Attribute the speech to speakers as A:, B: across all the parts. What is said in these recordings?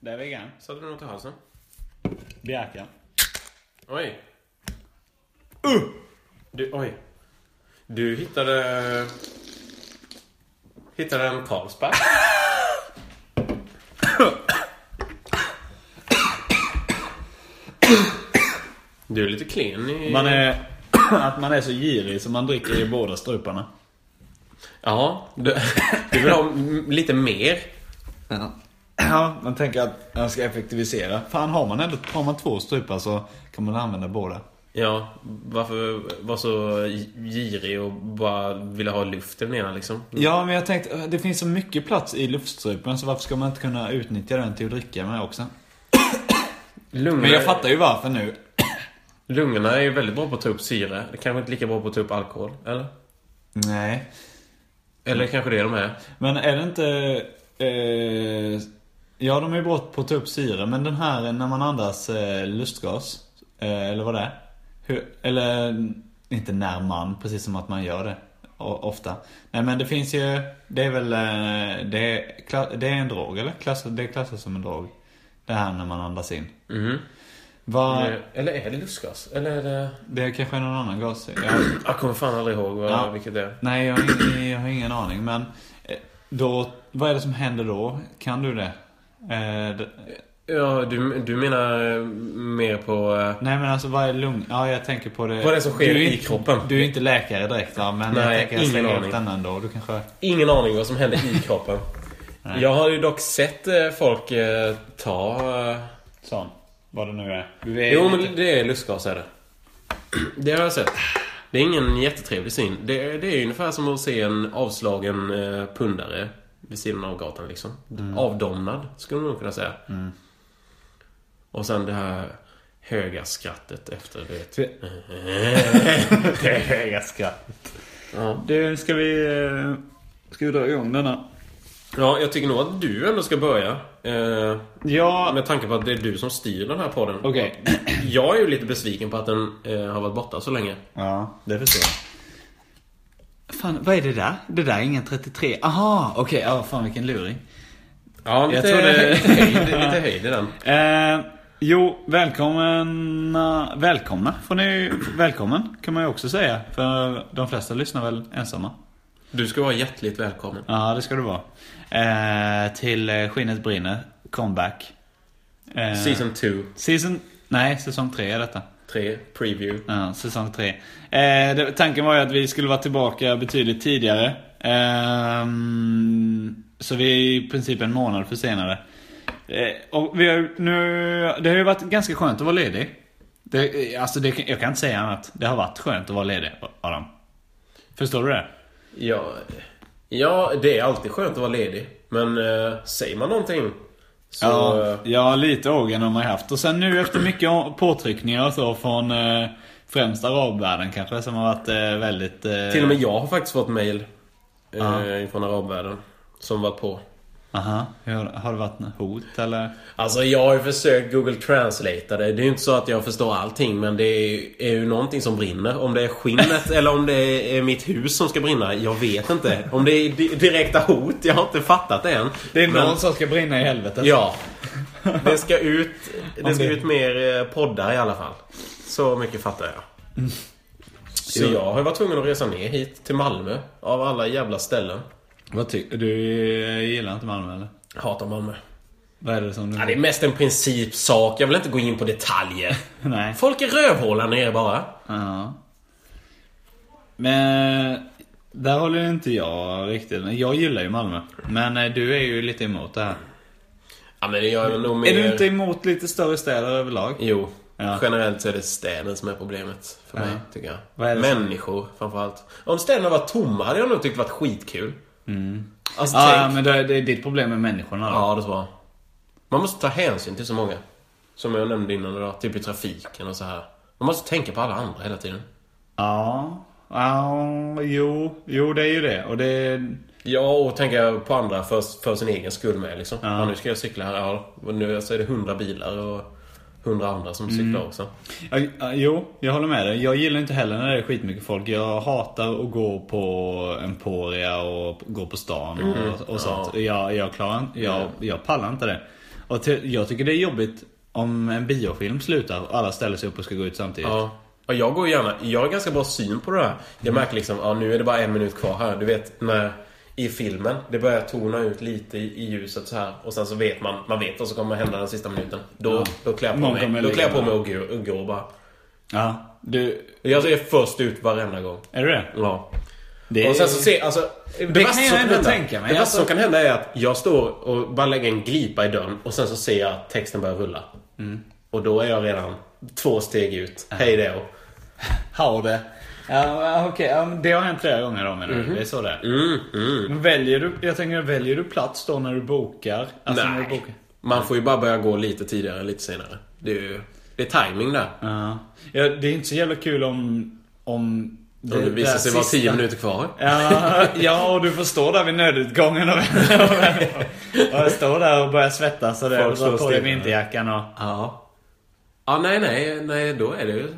A: Där är vegan.
B: Satte du något i halsen?
A: Bjärkan.
B: Oj. Uh! Du, oj. Du hittade... Hittade en Carlsberg. Du är lite klen i...
A: Man är, att man är så girig så man dricker i båda struparna.
B: Ja. Du, du vill ha m- lite mer.
A: Ja. Ja, man tänker att man ska effektivisera. Fan, har man ändå har man två strupar så kan man använda båda.
B: Ja, varför vara så girig och bara vilja ha luft i den ena liksom?
A: Ja, men jag tänkte, eh, det finns så mycket plats i luftstrupen så varför ska man inte kunna utnyttja den till att dricka med också?
B: Lungor-
A: Men jag fattar ju varför nu.
B: Lungorna är ju väldigt bra på att ta upp syre. Det kanske inte lika bra på att ta upp alkohol, eller?
A: Nej.
B: Eller kanske det är de är.
A: Men är det inte... Eh, ja, de är ju bra på att ta upp syre, men den här när man andas eh, lustgas, eh, eller vad det är. Hur, eller inte när man, precis som att man gör det o- ofta. Nej men det finns ju, det är väl, eh, det är, kla- det är en drog eller? Klass, det klassas som en drog. Det här när man andas in.
B: Mhm.
A: Vad,
B: Eh, Eller är det lustgas? Eller är det...
A: det är kanske är någon annan gas. Jag,
B: Jag kommer fan aldrig ihåg vad,
A: Ja.
B: vilket det är.
A: nej jag, har ingen- jag har ingen aning men eh, då, vad är det som händer då? Kan du det? Eh, det
B: Ja, du, du menar eh, mer på... eh,
A: Nej men alltså vad är lugn? Ja jag tänker på det.
B: Vad det är som sker
A: du,
B: i kroppen.
A: Du är inte läkare direkt va? Men
B: Nej,
A: jag tänker jag
B: ingen
A: slänger
B: aning.
A: upp den ändå. Du kanske...
B: Ingen aning vad som händer i kroppen. Jag har ju dock sett eh, folk eh, ta... eh,
A: Sån. Vad det nu är. Du är
B: Jo, men det är lustgas är det. Det har jag sett. Det är ingen jättetrevlig syn. Det, är- det är ungefär som att se en avslagen eh, pundare vid sidan av gatan liksom. Avdomnad, skulle man nog kunna säga. Och sen det här höga skrattet efter, du vet.
A: Det är höga skratt.
B: Ja.
A: Du, ska vi... eh, Ska vi dra igång denna?
B: ja, jag tycker nog att du ändå ska börja. Eh,
A: Ja,
B: med tanke på att det är du som styr den här podden.
A: Okej.
B: Jag är ju lite besviken på att den eh, har varit borta så länge.
A: Ja, det förstår jag. Fan, vad är det där? Det där är ingen 33. Aha, okej. ja, fan vilken luring.
B: Ja, lite,
A: Jag tror det-
B: lite, höjd, lite höjd i den.
A: Eh, jo, välkomna, välkomna får ni, välkommen kan man ju också säga. För de flesta lyssnar väl ensamma.
B: Du ska vara hjärtligt välkommen.
A: Ja, det ska du vara. Eh, till eh, Skinnet Brinner, comeback. Eh,
B: Season 2,
A: season- Nej, säsong 3 är detta.
B: 3, preview.
A: Ja, säsong 3. Eh, det, tanken var ju att vi skulle vara tillbaka betydligt tidigare. Ehm, så vi är i princip en månad försenade. Eh, och vi har, ju- nu, det har ju varit ganska skönt att vara ledig. Det, eh, alltså det, jag kan inte säga annat. Det har varit skönt att vara ledig, Adam. Förstår du det?
B: Ja, ja, det är alltid skönt att vara ledig. Men eh, säger man någonting så... eh,
A: Ja, ja, lite ågen har man haft. Och sen nu efter mycket å- påtryckningar och så från eh, främst arabvärlden kanske som har varit eh, väldigt... Eh,
B: Till och med jag har faktiskt fått mail eh, från arabvärlden som varit på.
A: Aha, hur, har det varit något hot eller?
B: Alltså jag har ju försökt Google Translate det. Det är ju inte så att jag förstår allting men det är ju, är ju någonting som brinner. Om det är skinnet eller om det är mitt hus som ska brinna, jag vet inte. Om det är di- direkta hot, jag har inte fattat det än.
A: Det är
B: Men-
A: någon som ska brinna i helvetet.
B: Ja. Det ska ut, det
A: Om
B: ska
A: det-
B: ut mer eh, poddar i alla fall. Så mycket fattar jag. Så
A: Jo.
B: jag har varit tvungen att resa ner hit till Malmö. Av alla jävla ställen.
A: Vad tycker du? eh, gillar inte Malmö eller?
B: Hatar Malmö.
A: Vad är det som du...
B: Ja, det är mest en principsak. Jag vill inte gå in på detaljer.
A: Nej.
B: Folk är rövhål här nere bara.
A: Ja. Men... eh, Där håller inte jag riktigt Men Jag gillar ju Malmö. Men eh, du är ju lite emot det här.
B: Ja, men jag är nog mer...
A: Är du inte emot lite större städer överlag?
B: Jo.
A: Ja.
B: Generellt så är det städen som är problemet för mig,
A: Ja.
B: tycker jag.
A: Vad är det som-
B: Människor, framförallt. Om städerna var tomma hade jag nog tyckt varit skitkul. Alltså,
A: Mm. Ja,
B: tänk
A: ja, men det är, det är ditt problem med människorna då.
B: Ja, det tror jag. Man måste ta hänsyn till så många. Som jag nämnde innan idag, typ i trafiken och så här. Man måste tänka på alla andra hela tiden.
A: Ja. Ja, jo, jo det är ju det. Och det...
B: Ja, och tänka på andra för, för sin egen skull med liksom. Ja. nu ska jag cykla här. Ja, och nu så är det hundra bilar och hundra andra som cyklar också.
A: Ja, ja, Jo, jag håller med dig. Jag gillar inte heller när det är skitmycket folk. Jag hatar att gå på
B: Mm.
A: Emporia och gå på stan och, och sånt. Jag, jag klarar inte- jag, jag pallar inte det. Och ty- jag tycker det är jobbigt om en biofilm slutar och alla ställer sig upp och ska gå ut samtidigt.
B: Ja. ja, jag går gärna... Jag har ganska bra syn på det här. Jag
A: Mm.
B: märker liksom, ja nu är det bara en minut kvar här. Du vet, när... I filmen. Det börjar tona ut lite i, i ljuset så här. Och sen så vet man, man vet vad som kommer hända den sista minuten. Då,
A: Ja.
B: då klär jag på
A: Någon
B: mig,
A: kommer
B: då
A: ligga
B: klär jag på
A: där.
B: mig och går- och går bara.
A: Ja, du...
B: Jag är först ut varenda gång.
A: Är du det?
B: Ja.
A: det är...
B: Och sen så se, alltså, det värsta
A: kan jag
B: som
A: ändå
B: hända-
A: tänka mig.
B: Det värsta
A: Alltså-
B: som kan hända är att jag står och bara lägger en glipa i dörren och sen så ser jag att texten börjar rulla.
A: Mm.
B: Och då är jag redan två steg ut. Hej då.
A: How the... Ja, okej. ja, men det har hänt flera gånger då menar du? Det är så det är.
B: Mm, mm.
A: Men Väljer du, jag tänker, väljer du plats då när du bokar? Alltså när du
B: Nej.
A: bokar?
B: Man får ju bara börja gå lite tidigare, lite senare. Det är ju... Det är timing där.
A: Ja. ja. Det är inte så jävla kul om... Om
B: Om det visar sig vara tio minuter kvar.
A: Ja, ja, och du får stå där vid nödutgången och, och, och stå där och börja svettas och det.
B: Folk
A: Och
B: står
A: dra på
B: och
A: dig
B: stirrar.
A: vinterjackan och...
B: Ja. Ja, nej, nej, nej, då är det ju...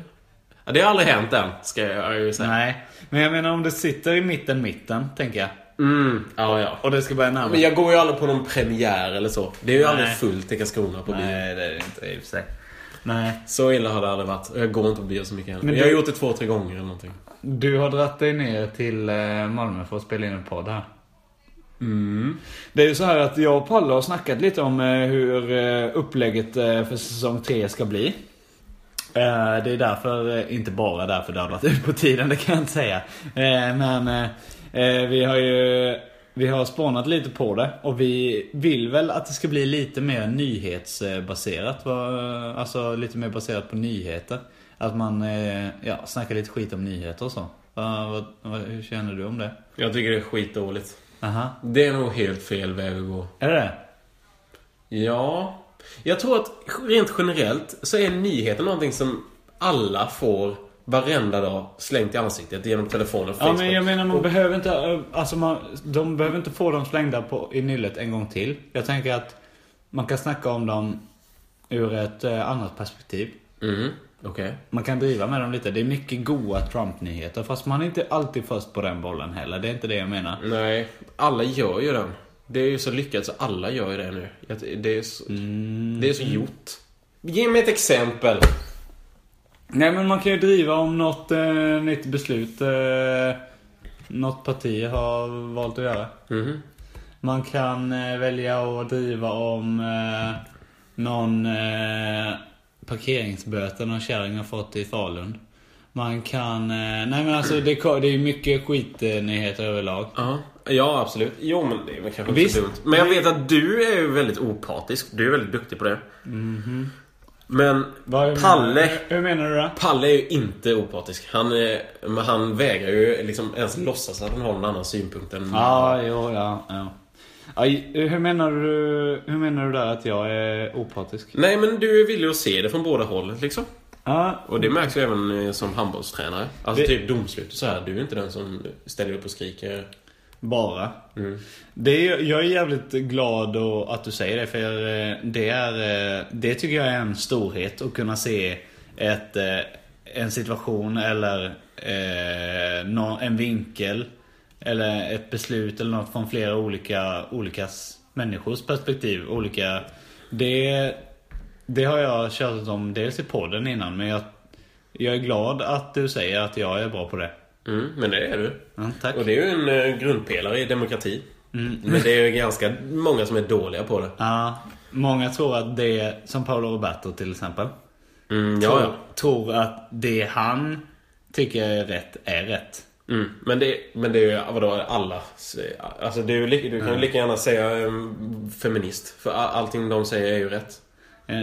B: Ja, det har aldrig hänt än, ska jag ju säga.
A: Nej. Men jag menar om du sitter i mitten, mitten, tänker jag.
B: Mm, ja, ja.
A: Och det ska börja
B: Men
A: närma
B: jag går ju aldrig på någon premiär eller så. Det är ju
A: Nej.
B: aldrig fullt i Karlskrona på bio.
A: Nej, det är det inte i och för sig. Nej.
B: Så illa har det aldrig varit. Och jag går inte på bio så mycket heller.
A: Men
B: jag har
A: du-
B: gjort det två, tre gånger eller någonting.
A: Du har dratt dig ner till eh, Malmö för att spela in en podd här.
B: Mm.
A: Det är ju så här att jag och Palle har snackat lite om eh, hur eh, upplägget eh, för säsong 3 ska bli. Eh, Det är därför, eh, inte bara därför det har dragit ut på tiden, det kan jag inte säga. Eh, Men eh, eh, vi har ju vi har spånat lite på det och vi vill väl att det ska bli lite mer nyhetsbaserat. va? Alltså lite mer baserat på nyheter. Att man eh, ja, snackar lite skit om nyheter och så. Va- vad, vad, hur känner du om det?
B: Jag tycker det är skitdåligt.
A: Aha,
B: Det är nog helt fel väg att gå.
A: är det det?
B: Ja. Jag tror att rent generellt så är nyheter någonting som alla får varenda dag slängt i ansiktet genom telefonen och
A: Ja
B: Facebook.
A: men jag menar man behöver inte, eh, alltså man, de behöver inte få dem slängda på, i nyllet en gång till. Jag tänker att man kan snacka om dem ur ett eh, annat perspektiv.
B: Mm, okej.
A: Man kan driva med dem lite. Det är mycket goa Trump-nyheter fast man är inte alltid först på den bollen heller. Det är inte det jag menar.
B: Nej, alla gör ju den. Det är ju så lyckat så alla gör ju det nu. Jag- Det är så,
A: Mm.
B: det är så gjort. Ge mig ett exempel.
A: Nej men man kan ju driva om något eh, nytt beslut eh, något parti har valt att göra.
B: Mhm.
A: Man kan eh, välja att driva om eh, någon eh, parkeringsböter någon kärring har fått i Falun. Man kan... Eh, nej men alltså det, ko- det är ju mycket skitnyheter överlag.
B: Ja, ja absolut. Jo, men det är väl kanske inte
A: Visst.
B: så dumt. Men jag vet att du är ju väldigt opartisk. Du är väldigt duktig på det. Men
A: Mhm. Vad- hur
B: Palle,
A: Menar, hur menar du då?
B: Palle är ju inte opartisk. Han, är, men han vägrar ju liksom ens låtsas att han har någon annan synpunkt än...
A: Ja, jo, ja, ja. ja. i- Hur menar du, hur menar du där att jag är opartisk?
B: Nej, men du är villig att se det från båda håll liksom.
A: Ja,
B: Och det märks ju även eh, som handbollstränare. Alltså
A: Det-
B: typ domslut och så här. Du är inte den som ställer upp och skriker.
A: Bara.
B: Mm.
A: Det är, jag är jävligt glad och att du säger det för eh, det, är, eh, det tycker jag är en storhet att kunna se ett, eh, en situation eller eh, nå- en vinkel eller ett beslut eller något från flera olika, olika s- människors perspektiv. Olika, det, det har jag tjatat om dels i podden innan men jag, jag är glad att du säger att jag är bra på det.
B: Mm, men det är du.
A: Ja, tack. Mm.
B: Och det är ju en eh, grundpelare i demokrati. Men det är ju ganska många som är dåliga på det.
A: Ja, många tror att det, som Paolo Roberto till exempel.
B: Mm, ja, ja.
A: tror, tror att det han tycker är rätt är rätt.
B: Mm. Men, det, men det är ju vadå, alla... Alltså det är ju, li- du
A: Mm.
B: kan ju lika gärna säga um, feminist. För a- allting de säger är ju rätt.
A: Eh,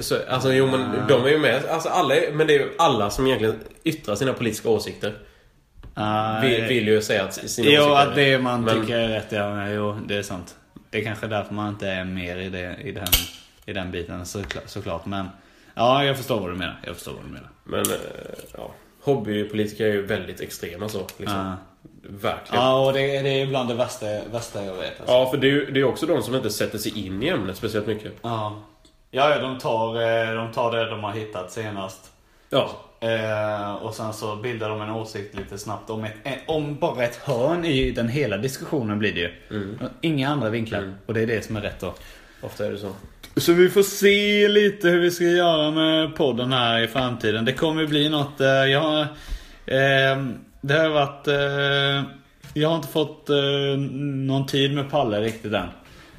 B: Så, alltså jo
A: Ah.
B: men de är ju med. Alltså, alla, är- men det är ju alla som egentligen yttrar sina politiska åsikter.
A: ah,
B: Vill, vill ju säga att sina
A: Jo,
B: åsikter är
A: att det man
B: Men-
A: tycker är rätt, ja, men jo, det är sant. Det är kanske därför man inte är mer i, det, i, den, i den biten såklart, såklart. Men ja, jag förstår vad du menar. Jag förstår vad du menar.
B: Men eh, ja. Hobbypolitiker är ju väldigt extrema så. Liksom.
A: Ja.
B: Verkligen.
A: Ja, och det, det är bland det värsta, värsta jag vet. Alltså.
B: Ja, för det är ju det är också de som inte sätter sig in i ämnet speciellt mycket.
A: Ja. Ja, ja, de tar, eh, de tar det de har hittat senast.
B: Ja.
A: Eh, och sen så bildar de en åsikt lite snabbt om, ett, eh, om bara ett hörn i den Mm. hela diskussionen blir det ju. Inga andra vinklar. Och det är det som är rätt då.
B: Ofta är det så.
A: Mm. Så vi får se lite hur vi ska göra med podden här i framtiden. Det kommer ju bli något. eh, Jag har, eh, det har varit... Eh, jag har inte fått eh, någon tid med Palle riktigt än.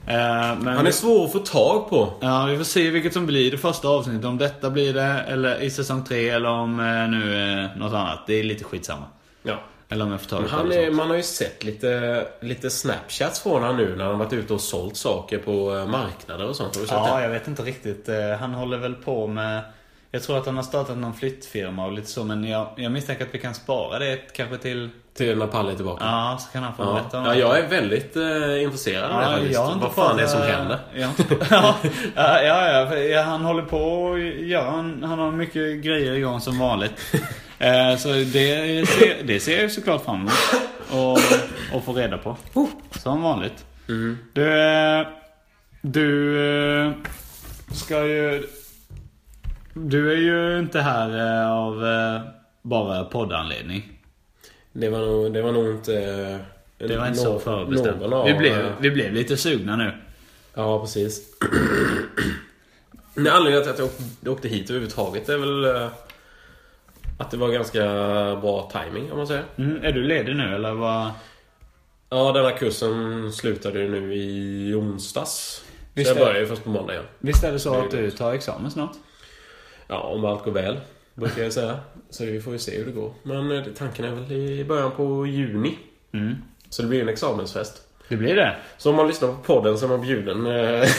A: Eh, men
B: Han är svår att få tag på.
A: Ja, vi får se vilket som blir det första avsnittet. Om detta blir det eller i säsong 3 eller om eh, nu eh, något annat. Det är lite skitsamma.
B: Ja.
A: Eller om jag får ta
B: Men
A: det
B: han
A: själv
B: är,
A: och sånt.
B: man har ju sett lite, lite snapchats från han nu när han varit ute och sålt saker på eh, marknader och sånt. Har du sett
A: Ja,
B: det?
A: jag vet inte riktigt. Eh, Han håller väl på med... Jag tror att han har startat någon flyttfirma och lite så men jag, jag misstänker att vi kan spara det kanske till...
B: Till när Palle är tillbaka.
A: Ja, så kan han få
B: Ja.
A: berätta om
B: ja,
A: det.
B: jag är väldigt eh, intresserad av det
A: Ja,
B: faktiskt.
A: jag har inte
B: Vad fan
A: fått,
B: det är som
A: eh,
B: händer.
A: jag har inte- ja, ja, ja, för, ja, han håller på och gör, han, han har mycket grejer igång som vanligt. Eh, så det ser, det ser jag ju såklart fram emot. Och, och få reda på. Som vanligt.
B: Mm.
A: Du, eh, du eh, ska ju... Du är ju inte här eh, av eh, bara poddanledning.
B: Det var nog, det var nog inte... eh,
A: Det var inte så
B: nå-
A: förbestämt.
B: någon av- eh,
A: Vi blev, vi blev lite sugna nu.
B: Ja, precis. Men anledningen till att jag åkte, åkte hit överhuvudtaget är väl eh, att det var ganska bra timing om man säger.
A: Mm, är du ledig nu eller vad?
B: Ja, den här kursen slutade ju nu i onsdags.
A: Visst
B: så jag
A: är-
B: börjar ju först på måndag igen.
A: Visst är det så att du tar examen snart?
B: Ja, om allt går väl, brukar jag säga. Så vi får ju se hur det går. Men eh, tanken är väl i början på juni.
A: Mm.
B: Så det blir en examensfest.
A: Det blir det.
B: Så om man lyssnar på podden så är man bjuden. eh,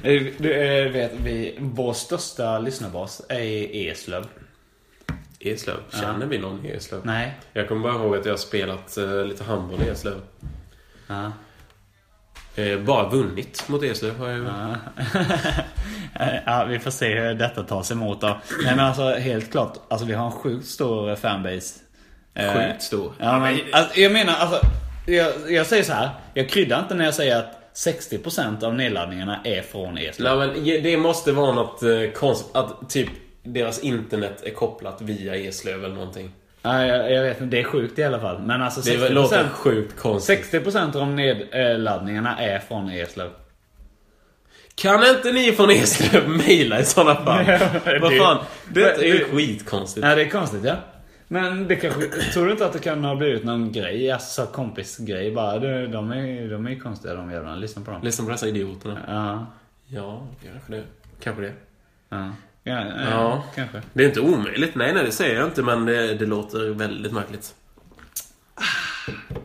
A: Du eh, vet, vi, vår största lyssnarbas är i Eslöv.
B: i Eslöv. Känner vi någon i Eslöv?
A: Nej.
B: Jag kommer bara ihåg att jag har spelat eh, lite handboll i Eslöv.
A: Ja.
B: Eh, bara vunnit mot Eslöv har jag ju.
A: Ja. Eh, ah. ja, vi får se hur detta tas emot då. Nej men alltså helt klart. Alltså vi har en sjukt stor eh, fanbase. Eh,
B: Sjukt stor.
A: Ja, men, alltså, jag menar alltså. Jag, jag säger så här. Jag kryddar inte när jag säger att 60% av nedladdningarna är från Eslöv.
B: Nej, men det måste vara något eh, konstigt. Att typ deras internet är kopplat via Eslöv eller någonting.
A: Ja, jag, jag vet inte. Det är sjukt i alla fall. Men alltså 60%.
B: Det låter sjukt konstigt.
A: 60% av nedladdningarna är från Eslöv.
B: Kan inte ni från Eslöv mejla i sådana fall?
A: Det-
B: Vad fan? Det är ju
A: det-
B: skitkonstigt.
A: Nej, det är konstigt ja. Men det kanske, tror du inte att det kan ha blivit någon grej? Alltså kompisgrej bara. Du, de är de är ju konstiga de jävlarna. Lyssna på dem.
B: Lyssna på dessa idioterna.
A: Ja.
B: Ja, kanske det. Kanske det.
A: Ja. Ja, ja,
B: Ja.
A: kanske.
B: Det är inte omöjligt. Nej, nej, det säger jag inte. Men det, det låter väldigt märkligt.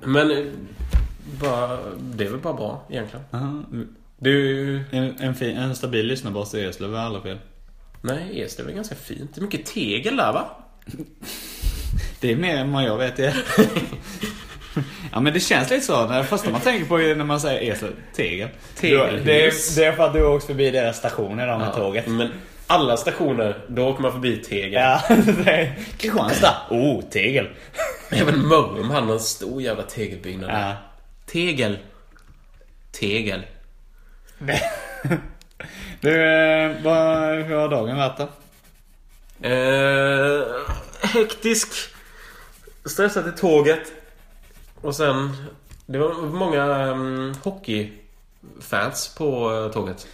B: Men... eh, Bara, det är väl bara bra, egentligen.
A: Ja.
B: Du...
A: En, en, fin, en stabil lyssnarbas i Eslöv är alla fel.
B: Nej, Eslöv är ganska fint. Det är mycket tegel där, va?
A: Det är mer än vad jag vet det är. Ja men det känns lite så. Det första man tänker på är när man säger Eslöv. Tegel.
B: Tegel.
A: Det, är- det är för att du har åkt förbi deras station idag med
B: Ja,
A: tåget.
B: Men alla stationer, då åker man förbi tegel.
A: Ja, det är Kristianstad. Oh, tegel.
B: Även Mörrum hade en stor jävla tegelbyggnad.
A: Ja.
B: Tegel. Tegel.
A: Du, eh, vad, hur har dagen varit då?
B: Eh, hektisk. Stressad till tåget. Och sen... Det var många um, hockeyfans på eh, tåget.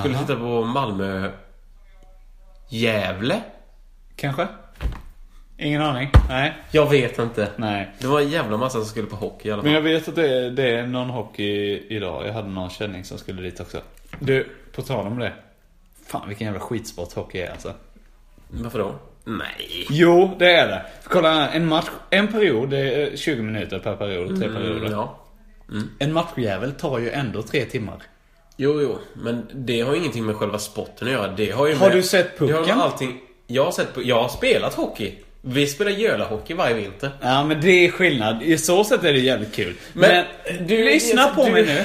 B: Skulle titta på Malmö... Gävle?
A: Kanske? Ingen aning? Nej.
B: Jag vet inte.
A: Nej.
B: Det var en jävla massa som skulle på hockey i alla
A: Men
B: fall.
A: jag vet att det är, det är någon hockey idag. Jag hade någon känning som skulle dit också. Du, på tal om det. Fan vilken jävla skitsport hockey är alltså.
B: Varför då? Nej.
A: Jo, det är det. För kolla här, en match, en period, det är 20 minuter per period, tre perioder.
B: Mm, ja.
A: En matchjävel tar ju ändå tre timmar.
B: Jo, jo, men det har ju ingenting med själva sporten att göra. Det har ju
A: Har
B: med,
A: du sett
B: Det har med
A: pucken?
B: allting. Jag har sett pu- Jag har spelat hockey. Vi spelar gölahockey varje vinter.
A: Ja men det är skillnad. I så sätt är det jävligt kul. Men,
B: Men-
A: du, lyssna på
B: du-
A: mig nu.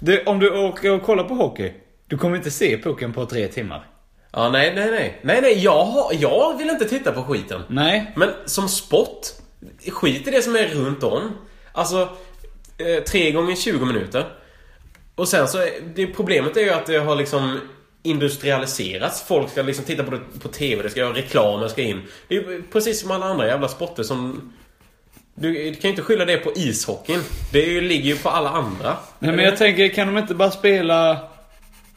A: Du, om du åker och kollar på hockey. Du kommer inte se pucken på tre timmar.
B: Ja, nej, nej, nej. Nej, nej, jag, har, jag vill inte titta på skiten.
A: Nej.
B: Men som sport, skit i det som är runt om. Alltså, eh, tre gånger 20 minuter. Och sen så, är- det problemet är ju att det har liksom industrialiserats. Folk ska liksom titta på det på TV, det ska göra reklam, det ska in. Det är ju precis som alla andra jävla sporter som... Du, du kan ju inte skylla det på ishockeyn. Det är ju, ligger ju på alla andra.
A: Nej men jag tänker, kan de inte bara spela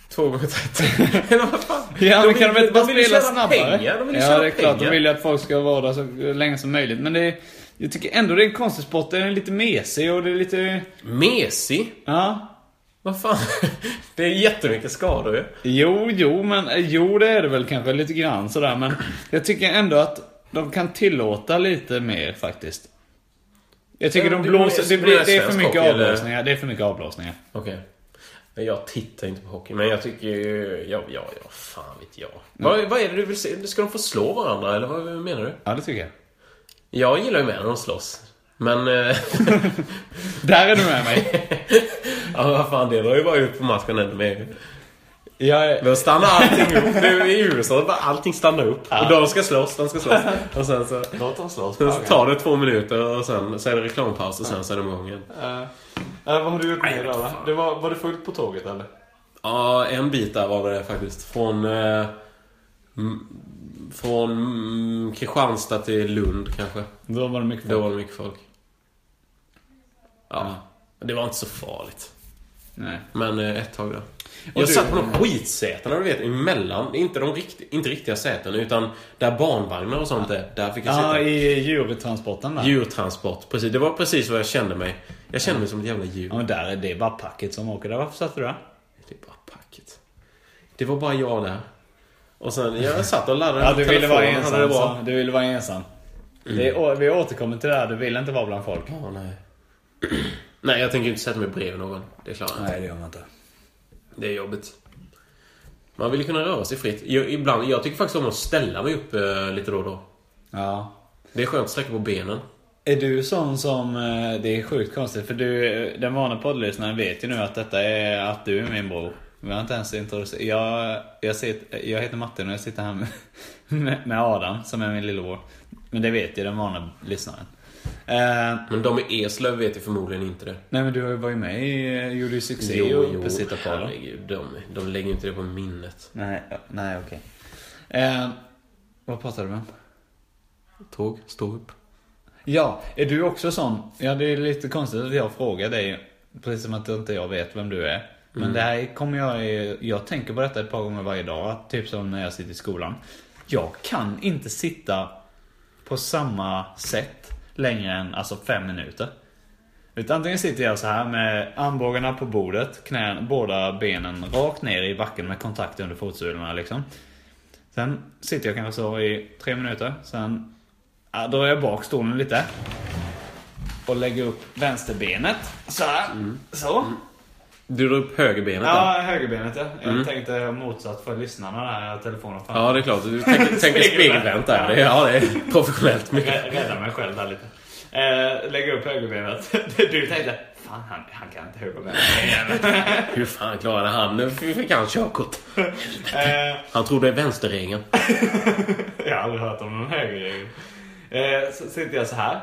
B: Två gånger 30. Eller vad fan?
A: Ja, men kan de inte bara
B: vill ju
A: spela
B: tjäna
A: snabbare?
B: Pengar. De vill ju
A: ja,
B: tjäna
A: det är klart.
B: pengar.
A: De vill ju att folk ska vara där så länge som möjligt. Men det är, jag tycker ändå det är en konstig sport. Den är lite mesig och det är lite...
B: Mesig?
A: Ja.
B: Vad fan? Det är jättemycket skador ju.
A: Jo, jo, men eh, jo det är det väl kanske lite grann sådär. Men jag tycker ändå att de kan tillåta lite mer faktiskt. Jag tycker
B: Ja,
A: de
B: det
A: blåser...
B: blir-
A: Det,
B: blir
A: blir,
B: det
A: det är för
B: svensk
A: mycket
B: hockey, eller?
A: avblåsningar. Det är för mycket avblåsningar.
B: Okej. Men Jag tittar inte på hockey, men jag tycker ju... Ja, ja, ja. Fan vet
C: Mm.
B: jag. Vad, vad är det du vill se? Ska de få slå varandra, eller vad menar du?
A: Ja, det tycker jag.
B: Jag gillar ju mer när de slåss. Men... eh,
A: Där är du med mig.
B: ja, vad fan, det drar ju bara ut på matchen ännu mer.
A: Jag är...
B: Då stannar allting upp. Nu i USA, bara allting stannar upp. Och de ska slåss, de ska slåss. Och sen så...
C: Låt dem slåss.
B: Sen så tar det två minuter och sen så är det reklampaus och sen så är det igång igen.
C: vad har du gjort med idag va? Det var, var det fullt på tåget eller?
B: Ja, en bit där var det faktiskt. Från... Eh, m- från mm, Kristianstad till Lund kanske.
A: Då var det mycket
B: Då var det mycket folk.
A: Mm.
B: Ja. Det var inte så farligt.
A: Nej.
B: Men eh, ett tag där.
A: Och
B: Jag
A: du-
B: satt på de skitsätena, du vet, emellan. Inte de rikt, inte riktiga sätena, utan där barnvagnar och sånt är. Där fick jag sitta.
A: Ja, i djurtransporten där.
B: Djurtransport, precis. Det var precis vad jag kände mig. Jag kände mig som ett jävla djur.
A: Ja, men där är det bara packet som åker där. Varför satt du där?
B: Det är typ bara packet. Det var bara jag där. Och sen, jag satt och laddade
A: Ja, du ville vara
B: telefonen,
A: ensam.
B: hade det bra.
A: sa- Du ville vara ensam. Det är, å- vi återkommer till det här. Du vill inte vara bland folk.
B: Ja, nej. nej, jag tänker inte sätta mig bredvid någon. Det klarar jag inte.
A: det gör man inte.
B: Det är jobbigt. Man vill ju kunna röra sig fritt. Jag, ibland, jag tycker faktiskt om att ställa mig upp eh, lite då och då.
A: Ja.
B: Det är skönt att sträcka på benen.
A: Är du sån som... eh, Det är sjukt konstigt för du, eh, den vanliga poddlyssnaren vet ju nu att detta är att du är min bror. Vi har inte ens introducerat... Jag, jag, sitter, jag heter Martin och jag sitter här med, med, med Adam som är min lillebror. Men det vet ju den vanliga lyssnaren. Eh,
B: Men de i Eslöv vet ju förmodligen inte det.
A: nej men du har ju varit med i... eh, Gjorde ju succé och på Sittarpodden.
B: herregud. De, de lägger ju inte det på minnet.
A: Nej, ja, nej okej. Eh, vad pratade du om?
B: Tåg, stå upp.
A: Ja, är du också sån? Ja, det är lite konstigt att jag frågar dig. Precis som att inte jag vet vem du är. Men det här kommer jag... Jag tänker på detta ett par gånger varje dag. Typ som när jag sitter i skolan. Jag kan inte sitta på samma sätt längre än alltså fem minuter. Utan antingen sitter jag så här med armbågarna på bordet, knä, båda benen rakt ner i backen med kontakt under fotsulorna liksom. Sen sitter jag kanske så i tre minuter. Sen ja, drar jag bak stolen lite. Och lägger upp vänsterbenet. Så här. Så.
B: Du drar upp högerbenet där.
A: Ja, högerbenet ja. Jag tänkte motsatt för lyssnarna där. Telefonen fan.
B: Ja, det är klart. Du tänker, tänker spegelvänt där. Det är- Ja, det är professionellt mycket.
A: Rä- Rädda mig själv där lite. Eh, lägger upp högerbenet. Du tänkte, fan han, han kan inte högerbenet.
B: Hur fan klarade han? Nu fick han körkort.
A: eh,
B: Han trodde det är vänsterregeln.
A: Jag har aldrig hört om någon högerregel. Eh, så sitter jag så här.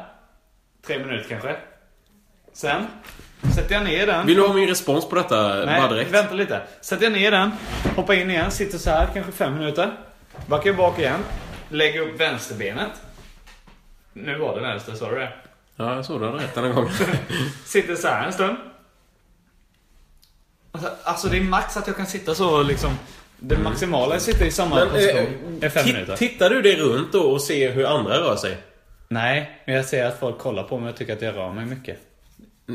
A: Tre minuter kanske. Sen sätter jag ner den.
B: Vill du ha min respons på detta? bara
A: Nej,
B: direkt?
A: vänta lite. Sätter jag ner den. Hoppar in igen. Sitter så här kanske fem minuter. Backar bak igen. Lägger upp vänsterbenet. Nu var det vänster, sa du det?
B: Ja, jag såg du hade rätt den här gången.
A: Sitter så här en stund. Alltså- Alltså det är max att jag kan sitta så liksom. Det maximala är att sitta i samma
B: Men, eh,
A: position. är fem
B: ti-
A: minuter.
B: tittar du dig runt då och ser hur andra rör sig?
A: Nej, men jag ser att folk kollar på mig och tycker att jag rör mig mycket.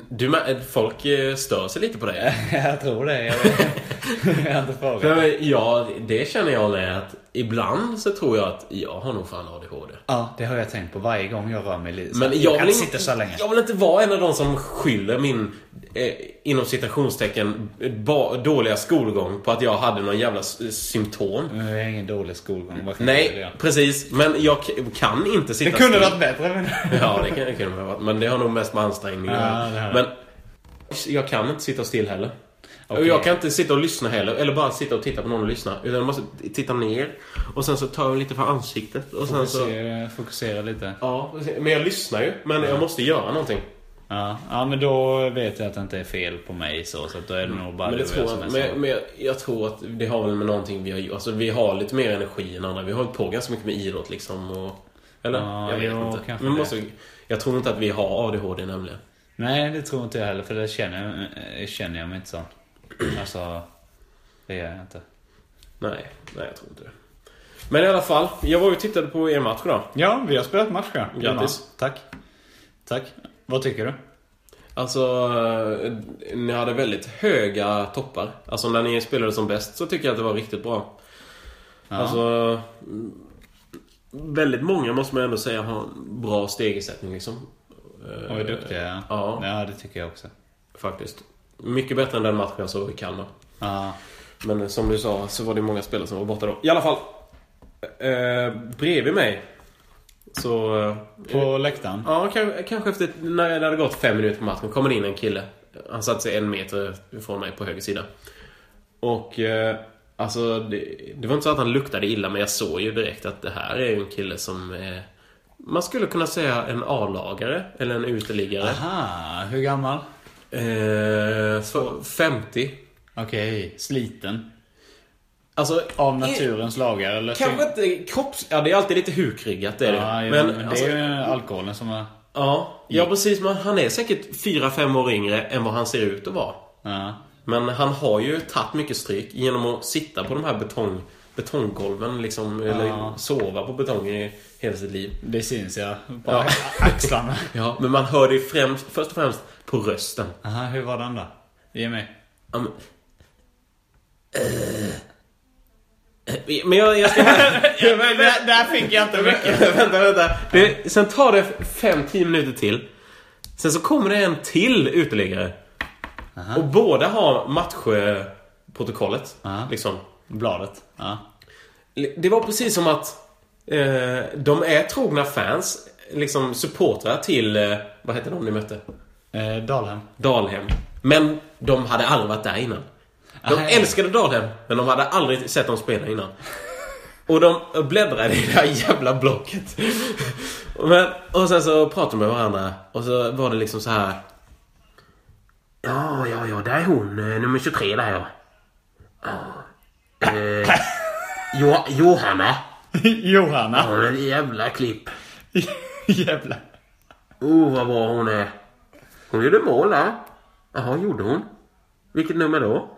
B: Du, mär- folk eh, stör sig lite på dig.
A: jag tror det. Jag, jag har inte frågat.
B: För ja, det känner jag med att ibland så tror jag att jag har nog fan ADHD.
A: Ja, det har jag tänkt på varje gång jag rör mig lite. Så
B: Men jag,
A: kan
B: vill
A: inte
B: inte,
A: sitta så här länge.
B: jag vill inte vara en av de som skyller min, eh, inom citationstecken, ba, dåliga skolgång på att jag hade någon jävla s- symptom.
A: Men Jag har ingen dålig skolgång. Vad kan jag
B: Nej,
A: göra?
B: prestill. precis. Men jag k- kan inte
A: Det
B: sitta
A: kunde
B: still.
A: varit bättre. Men...
B: Ja, det kan- det kunde det varit. Men det har nog mest med ansträngning att
A: Ja,
B: göra.
A: det har
B: Men jag kan inte sitta still heller. Och
A: Okej.
B: Jag kan inte sitta och lyssna heller, eller bara sitta och titta på någon och lyssna. Utan jag måste titta ner och sen så tar jag lite för ansiktet och sen
A: Alltså-
B: så...
A: Fokusera, fokusera lite.
B: Ja, men jag lyssnar ju. Men jag måste göra någonting.
A: Ja. ja, men då vet jag att det inte är fel på mig så. Så att då är det nog bara
B: Men, det
A: du och
B: tror
A: som
B: jag,
A: är
B: men,
A: så.
B: men jag, jag tror att det har väl med någonting vi har gjort. Alltså vi har lite mer energi än andra. Vi har hållit på ganska mycket med idrott liksom. Och, eller?
A: Ja,
B: jag vet
A: jo,
B: inte.
A: kanske
B: Men
A: det.
B: måste, jag tror inte att vi har ADHD nämligen.
A: Nej, det tror inte jag heller. För det känner jag, eh, känner jag mig inte så. Alltså, Det gör jag inte.
B: Nej, nej jag tror inte det. Men i alla fall, jag var ju och tittade på er match då.
A: Ja, vi har spelat match ja.
B: Grattis.
A: Ja, Tack. Tack. Vad tycker du?
B: Alltså, eh, ni hade väldigt höga toppar. Alltså när ni spelade som bäst så tycker jag att det var riktigt bra. Alltså, mm, väldigt många måste man ändå säga har en bra stegersättning liksom. Eh,
A: De var duktiga.
B: ja.
A: ja, det tycker jag också.
B: Faktiskt. Mycket bättre än den matchen jag såg i Kalmar.
A: Ja.
B: Men som du sa så var det många spelare som var borta då. I alla fall. Eh, bredvid mig. Så... Eh,
A: På läktaren?
B: ja, kanske, kanske efter när det hade gått fem minuter på matchen kommer det in en kille. Han satte sig en meter ifrån mig på höger sida. Och... Eh, alltså, det, det var inte så att han luktade illa men jag såg ju direkt att det här är ju en kille som... Eh, man skulle kunna säga en A-lagare eller en uteliggare.
A: Aha, hur gammal?
B: Eh, så 50.
A: Okej, sliten.
B: Alltså,
A: Av
B: i-
A: naturens lagar eller?
B: Kanske inte kropps... Ja, det är alltid lite hukryggat, det är det.
A: Ja, jo,
B: men,
A: men det
B: alltså,
A: är ju alkoholen som är...
B: ja, ja, precis. Men han är säkert 4-5 år yngre än vad han ser ut att vara.
A: Ja.
B: Men han har ju tagit mycket stryk genom att sitta på de här betong, betonggolven liksom. Eller sova på betong i hela sitt liv.
A: Det syns ja. På
B: Ja.
A: axlarna.
B: Ja, men man hör det ju främst, först och främst på rösten.
A: Aha, hur var den då? Ge mig.
B: Ja, men... Eh. Men jag, jag ska...
A: där, där fick jag inte mycket.
B: vänta, vänta. Det, sen tar det 5-10 minuter till. Sen så kommer det en till uteliggare. Och båda har matchprotokollet.
A: Aha.
B: Liksom.
A: Bladet. Ja.
B: Det var precis som att eh, de är trogna fans. Liksom supportrar till, eh, vad hette de ni mötte?
A: Eh, Dalhem.
B: Dalhem. Men de hade aldrig varit där innan. De
A: Aha.
B: älskade Dalhem, men de hade aldrig sett dem spela innan. Och de bläddrade i det här jävla blocket. Men, och sen så pratade de med varandra och så var det liksom så här. Ja, ja, ja, där är hon, eh, nummer 23 där ja. Ja. Eh, jo, Johanna.
A: Johanna.
B: Hon är ett jävla klipp.
A: Jävlar.
B: Oh, vad bra hon är. Hon gjorde mål där. Jaha, gjorde hon? Vilket nummer då?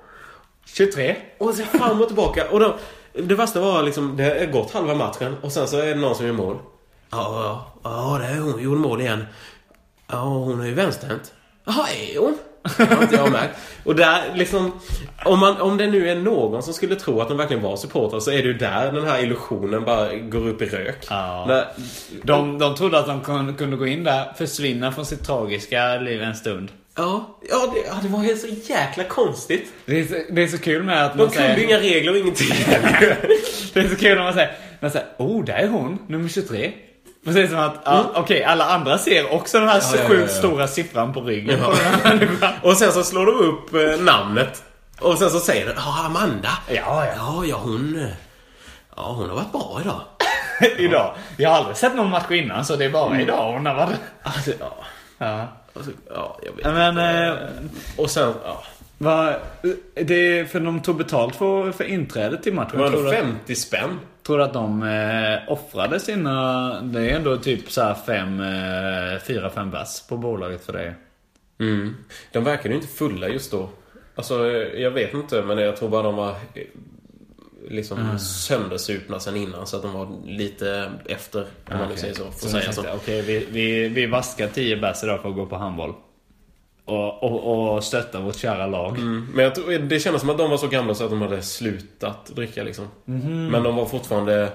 A: 23.
B: Och så fram och tillbaka. Och då, det värsta var liksom, det är gått halva matchen och sen så är det någon som gör mål. Ja, ja, ja, det är hon. Gjorde mål igen. Ja, hon är ju vänsterhänt. Jaha, är hon? Det har inte jag märkt. Och där liksom, om, man, om det nu är någon som skulle tro att de verkligen var supportrar så är det ju där den här illusionen bara går upp i rök.
A: Ja.
B: När-
A: De, de trodde att de kun- kunde gå in där, försvinna från sitt tragiska liv en stund.
B: ja, ja, det, ja, det var helt så jäkla konstigt.
A: Det är så, det är så kul med att
B: De
A: man
B: kunde ju
A: säger...
B: inga regler och ingenting.
A: Det är så kul när man säger, man säger oh, där är hon, nummer 23. Precis som att, ja, okej, alla andra ser också den här
B: Mm. ja,
A: sjukt
B: ja, ja.
A: stora siffran på ryggen på den här människan.
B: Och sen så slår de upp eh, namnet. Och sen så säger de ja Amanda.
A: Ja, ja.
B: Ja, ja hon... eh, Ja, hon har varit bra idag.
A: idag. Jag har aldrig sett någon match innan så det är bara idag hon har varit
B: Alltså, ja.
A: Ja.
B: Och så, ja, jag vet
A: Men
B: inte.
A: eh,
B: Och sen, ja.
A: vad, det är för de tog betalt för, för inträdet till matchen.
B: Var
A: tror,
B: det
A: du,
B: 50 spänn?
A: tror du att de eh, offrade sina, det är ändå typ så här fem, eh, fyra, fem bass på bolaget för det.
B: Mm. De verkade ju inte fulla just då. Alltså, eh, jag vet inte, men jag tror bara de var eh, liksom söndersupna sen innan. Så att de var lite efter, om man nu säger Ah, så. Får
A: Så de
B: säga
A: tänkte,
B: så.
A: Okej, vi, vi, vi vaskar tio bass idag för att gå på handboll. Och, och, och stötta vårt kära lag.
B: Mm, Men jag tror, det kändes som att de var så gamla så att de hade slutat dricka liksom.
A: Mhm.
B: Men de var fortfarande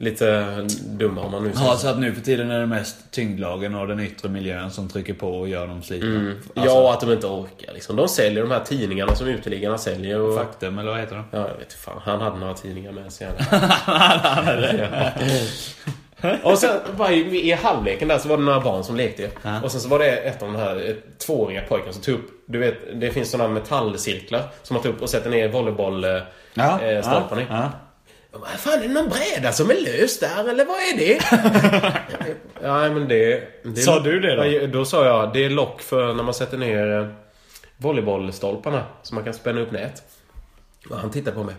B: lite dumma om man nu säger
A: Ja,
B: så.
A: så att nu för tiden är det mest tyngdlagen och den yttre miljön som trycker på och gör dem slitna. alltså.
B: Ja, och att de inte orkar liksom. De säljer de här tidningarna som uteliggarna säljer och...
A: Faktum, eller vad heter de?
B: Ja, jag vet fan. Han hade några tidningar med sig. Han Och sen bara i, i halvleken där så var det några barn som lekte.
A: Ja.
B: Och sen så var det ett av de här ett, tvååriga pojken som tog upp, du vet, det finns sådana metallcirklar som man tar upp och sätter ner volleybollstolparna
A: Ja,
B: eh, stolparna i.
A: ja.
B: Vad fan, är det någon bräda som är lös där eller vad är det? ja, men det... det
A: Sa du det då?
B: Ja, Då sa jag, det är lock för när man sätter ner eh, volleybollstolparna så man kan spänna upp nät. Och han tittade på mig.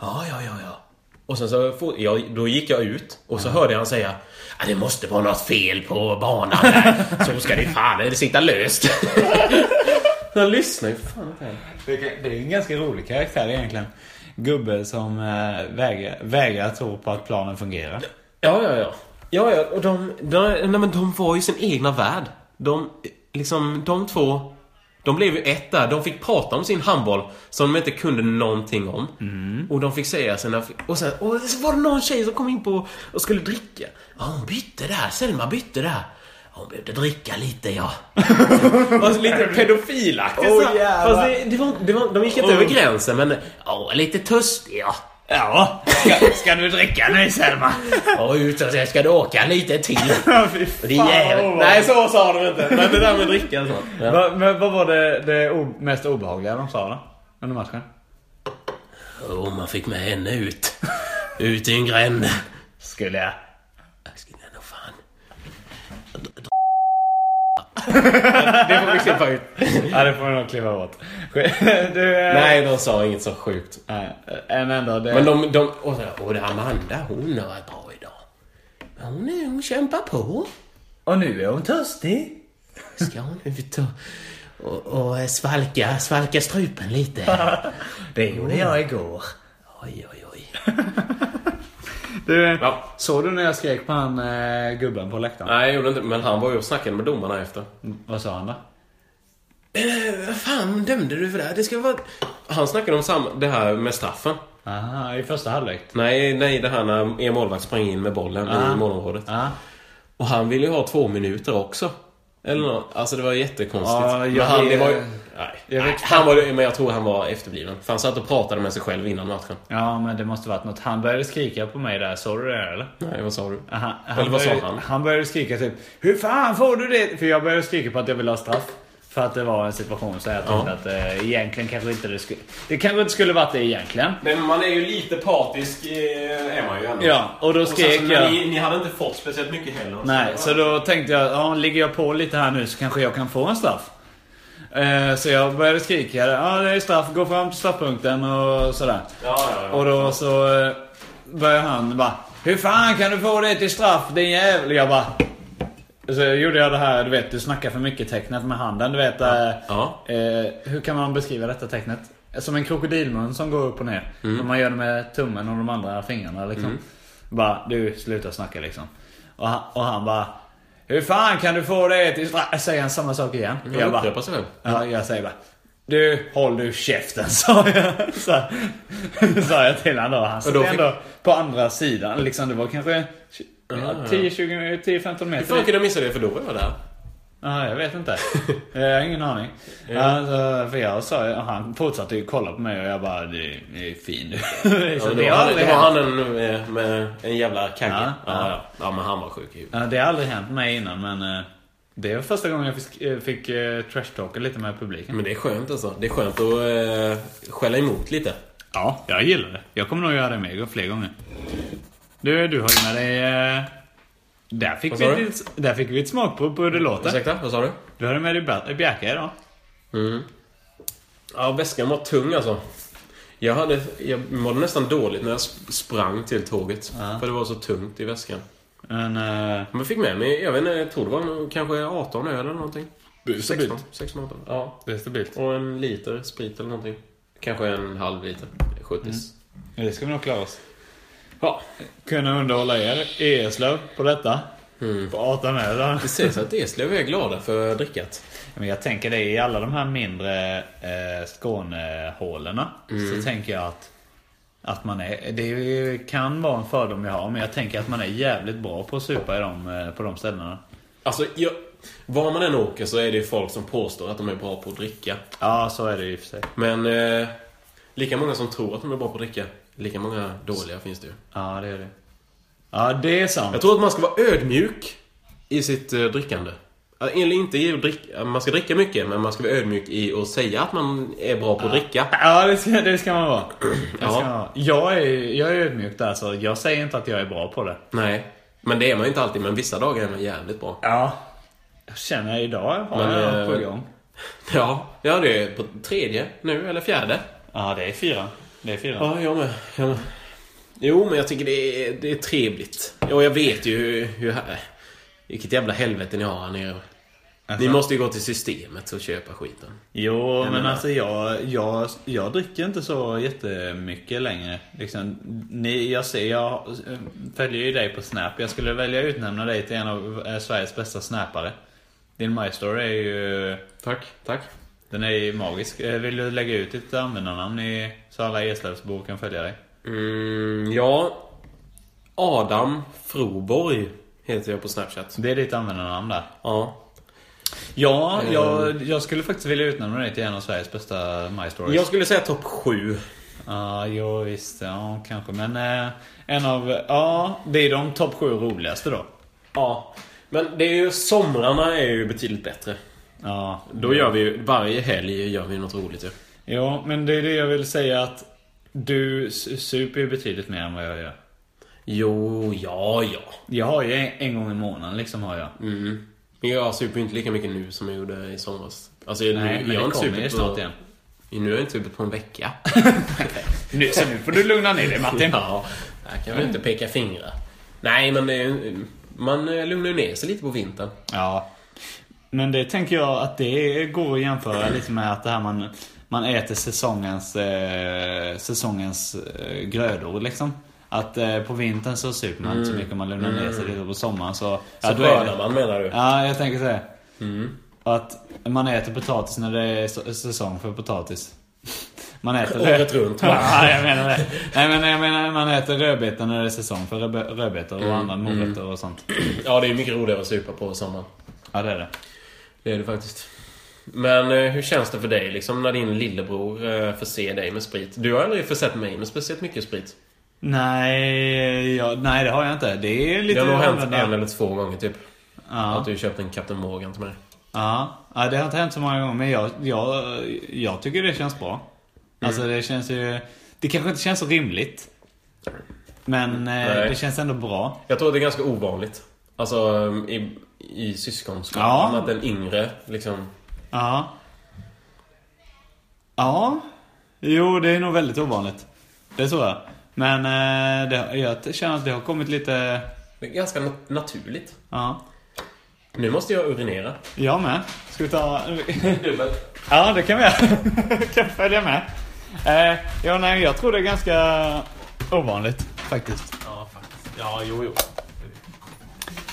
B: Ja, ja, ja, ja. Och sen så, for- jag, då gick jag ut och så hörde jag han säga "Ja, Det måste vara något fel på banan här. Så ska det fan det sitta löst. Han lyssnar ju för fan inte heller.
A: Det kan- det är ju en ganska rolig karaktär egentligen. Gubbe som eh, vägrar, vägrar tro på att planen fungerar.
B: Ja, ja, ja. Ja, ja, och de, de, nej, men de var ju sin egna värld. De, liksom, de två, de blev ju ett där. De fick prata om sin handboll som de inte kunde någonting om. Och de fick säga sina... Och sen och så var det någon tjej som kom in på och skulle dricka. Ja, hon bytte där. Selma bytte där. Hon behövde dricka lite, ja. Alltså, lite pedofilaktigt
A: Åh,
B: så här.
A: jävlar.
B: Fast det, det var, det var, de gick inte över gränsen, men... Ja, lite törstig, ja.
A: Ja, ska, ska du dricka nu Selma?
B: Ja, ut och sen ska du åka lite till.
A: Ja, fy fan,
B: Det är jävligt.
A: vad
B: Nej, så sa de inte. Men det där med dricka och sånt.
A: obehagligt. Va, men vad var det, det o- mest obehagliga de sa då? Under matchen?
B: Och man fick med henne ut. Ut i en gränd.
A: Skulle jag.
B: Jag skulle nog fan...
A: Det får vi klippa ut. ja, det får vi nog klippa bort. Du, eh,
B: Nej, de sa inget så sjukt.
A: Nej, En enda. Det...
B: Men de... de och, så, och det Amanda, hon har varit bra idag. Men hon, är, hon kämpar på.
A: Och nu är hon törstig.
B: Ska hon ut och, och, och svalka, svalka strupen lite.
A: Det gjorde jag igår.
B: Oj, oj, oj.
A: Du,
B: Ja.
A: såg du när jag skrek på han eh, gubben på läktaren?
B: Nej, jag gjorde inte. Men han var ju och snackade med domarna efter.
A: Vad sa han då?
B: Vad fan dömde du för det här? Det ska vara... Han snackade om samma, det här med straffen.
A: Aha, i första halvlek.
B: Nej, nej, det här när er målvakt sprang in med bollen
A: Ah.
B: i målområdet.
A: Ja.
B: Och han ville ju ha två minuter också. Eller nå, Alltså det var jättekonstigt.
A: Ja, jag
B: men han, det
A: vet-
B: var ju... Nej,
A: jag
B: nej,
A: vet
B: han var, ju- men jag tror han var efterbliven. För han satt och pratade med sig själv innan matchen.
A: Ja, men det måste varit något. Han började skrika på mig där. Såg du det eller?
B: Nej, vad sa du?
A: Han,
B: Eller vad sa
A: började,
B: han?
A: Han började skrika typ Hur fan får du det? För jag började skrika på att jag ville ha straff. För att det var en situation så jag tänkte
B: Ja.
A: att eh, egentligen kanske inte det skulle... Det kanske inte skulle varit det egentligen.
B: Nej, men man är ju lite partisk, eh, är man ju ändå.
A: Ja, och då skrek
B: sen så-
A: jag.
B: ni hade inte fått speciellt mycket heller.
A: Nej, så då tänkte jag, ja, ligger jag på lite här nu så kanske jag kan få en straff. Eh, så jag började skrika, ja det är straff, gå fram till straffpunkten och sådär.
B: Ja, ja, ja.
A: Och då så eh, började han bara, hur fan kan du få det till straff din jävel? Jag bara, så gjorde jag det här, du vet, du snackar för mycket tecknet med handen, du vet. eh,
B: Ja.
A: Eh, hur kan man beskriva detta tecknet? Som en krokodilmun som går upp och ner.
B: Mm.
A: Och man gör det med tummen och de andra fingrarna liksom. Bara, du sluta snacka liksom. Och han, och han bara, hur fan kan du få det till straff? Säger han samma sak igen?
B: Han
A: jag bara,
B: upprepar sig väl?
A: ja, jag säger bara, du håll du käften sa jag. Så, sa jag till honom då. Han
B: Och då
A: stod
B: fick- Ah,
A: ändå på andra sidan liksom. Det var kanske ja,
B: ja.
A: 10-20, 10-15
B: Hur
A: meter.
B: fan kunde jag missa det? För då var jag där.
A: Ja, jag vet inte. Jag har ingen aning. Alltså, för jag sa, och han fortsatte ju kolla på mig och jag bara, du är fin du.
B: Ja,
A: Så
B: det, var
A: Liksom, har
B: han, det
A: aldrig
B: var
A: hänt.
B: han en, eh, med en jävla kagge. Ja,
A: Ja,
B: ja.
A: ja.
B: Ja, men han var sjuk i huvudet.
A: Ja, det har aldrig hänt mig innan men eh, det var första gången jag fick, eh, fick eh, trashtalka lite med publiken.
B: Men det är skönt alltså. Det är skönt att eh, skälla emot lite.
A: Ja, jag gillar det. Jag kommer nog göra det mer, fler gånger. Du, du har ju med dig... eh, Där fick,
B: Vad
A: vi
B: sa
A: ett,
B: du?
A: litet- där fick vi ett smakprov på hur det låter.
B: Ursäkta, vad sa du?
A: Du har ju med dig Bär- Bjärka idag.
B: Ja, väskan var tung alltså. Jag, hade, jag mådde nästan dåligt när jag sp- sprang till tåget. För det var så tungt i väskan.
A: Men... eh,
B: Men jag fick med mig, jag vet inte, jag tror det var nog kanske 18 öl eller någonting.
A: Det är
B: 16, 16 18. Ja.
A: Det är stabilt.
B: Och en liter sprit eller någonting. Kanske en halv liter. 70
A: Ja, det ska vi nog klara oss.
B: Ja.
A: kunna underhålla er i Eslöv på detta.
B: Mm.
A: På 18 öl.
B: Det sägs att Eslöv är glada för drickat.
A: Men jag tänker det i alla de här mindre eh, Skånehålorna.
B: Mm.
A: Så tänker jag att, att man är, det är ju- kan vara en fördom jag har. Men jag tänker att man är jävligt bra på att supa i de, eh, på de ställena.
B: Alltså, jag, var man än åker så är det ju folk som påstår att de är bra på att dricka.
A: Ja, så är det ju i och för sig.
B: Men eh, lika många som tror att de är bra på att dricka, lika många dåliga finns det ju.
A: Ja, det är det. Ja, det är sant.
B: Jag tror att man ska vara ödmjuk i sitt eh, drickande. Eller inte i att dricka, man ska dricka mycket, men man ska vara ödmjuk i att säga att man är bra på att dricka.
A: Ja, det ska, det ska man vara. Det ska
B: Ja.
A: man vara. Jag är, jag är ödmjuk där, så jag säger inte att jag är bra på det.
B: Nej, men det är man ju inte alltid, men vissa dagar är man jävligt bra.
A: Ja. Jag känner idag har
B: Men,
A: jag något
B: eh,
A: på gång.
B: Ja, ja det är på tredje nu, eller fjärde.
A: Ja, det är fyra. Det är fyra.
B: Ja, jag med. Jag med. Jo, men jag tycker det är, det är trevligt. Och jag vet ju hur, hur... Vilket jävla helvete ni har här nere. Ni måste ju gå till systemet och köpa skiten.
A: Jo, men
B: menar-
A: alltså jag, jag, jag dricker inte så jättemycket längre. Liksom, ni, jag, ser, jag eh, följer ju dig på Snap. Jag skulle välja att utnämna dig till en av eh, Sveriges bästa snappare. Din My Story är ju...
B: Tack, tack.
A: Den är ju magisk. Eh, Vill du lägga ut ditt användarnamn i, så alla Eslövsbor kan följa dig?
B: Mm, ja. Adam Froborg heter jag på Snapchat.
A: Det är ditt användarnamn där. Eh.
B: Ja.
A: Ja, jag, jag skulle faktiskt vilja utnämna dig till en av Sveriges bästa My Stories.
B: Jag skulle säga topp 7.
A: Ja, jo visst. Ja, kanske. Men eh, en av... Ja, det är de topp sju roligaste då.
B: Ja. Men det är ju, somrarna är ju betydligt bättre.
A: Ja.
B: Då gör vi ju, varje helg gör vi något roligt ju.
A: Ja, men det är det jag vill säga att du s- super ju betydligt mer än vad jag gör.
B: Jo, ja, ja.
A: Jag har ju en, en gång i månaden liksom har jag.
B: Mm. Men jag super ju inte lika mycket nu som jag gjorde i somras. Alltså, jag,
A: Nej,
B: nu,
A: men
B: jag har
A: det
B: inte
A: kommer ju
B: supit
A: snart igen.
B: på... Nu har jag inte supit på en vecka.
A: Nu, så nu får du lugna ner dig Martin.
B: ja, där kan man inte peka fingrar. Nej, men det är, ju- man eh, lugnar ju ner sig lite på vintern.
A: Ja. Men det tänker jag att det går att jämföra lite med att det här man, man äter säsongens, eh, säsongens eh, grödor liksom. Att eh, på vintern så super man inte så mycket, man lugnar ner sig lite och på sommaren så...
B: Så
A: då är det-
B: skördar man menar du?
A: Ja, jag tänker så här.
B: Mm.
A: Att man äter potatis när det är s- säsong för potatis. Man äter
B: Året runt.
A: Ja, jag menar det. Nej, men jag menar man äter rödbetor när det är säsong för rödbe- rödbetor och andra morötter och sånt.
B: Ja, det är mycket roligare att supa på sommaren.
A: Ja, det är det.
B: Det är det faktiskt. Men eh, hur känns det för dig liksom när din lillebror eh, förser dig med sprit? Du har aldrig försett mig med speciellt mycket sprit.
A: Nej, ja, nej det har jag inte. Det är
B: Det
A: lite...
B: har nog hänt
A: annorlunda.
B: en eller två gånger typ. Att
A: Ja,
B: du köpt en Captain Morgan till mig.
A: ja. ja, det har inte hänt så många gånger men jag, jag, jag tycker det känns bra.
B: Mm.
A: Alltså det känns ju... Det kanske inte känns så rimligt. Men eh,
B: Nej.
A: det känns ändå bra.
B: Jag tror att det är ganska ovanligt. Alltså eh, i, i syskonskaran.
A: Ja.
B: Att den yngre liksom...
A: Ja. Ja. Jo, det är nog väldigt ovanligt. Det tror jag. Men eh, det, jag känner att det har kommit lite...
B: Det är ganska nat- naturligt.
A: Ja.
B: Nu måste jag urinera.
A: Jag med. Ska vi ta...
B: Dubbel.
A: Ja, det kan vi göra. kan vi följa med. Eh, ja, nej, jag tror det är ganska ovanligt faktiskt.
B: Ja, faktiskt. Ja, jo, jo.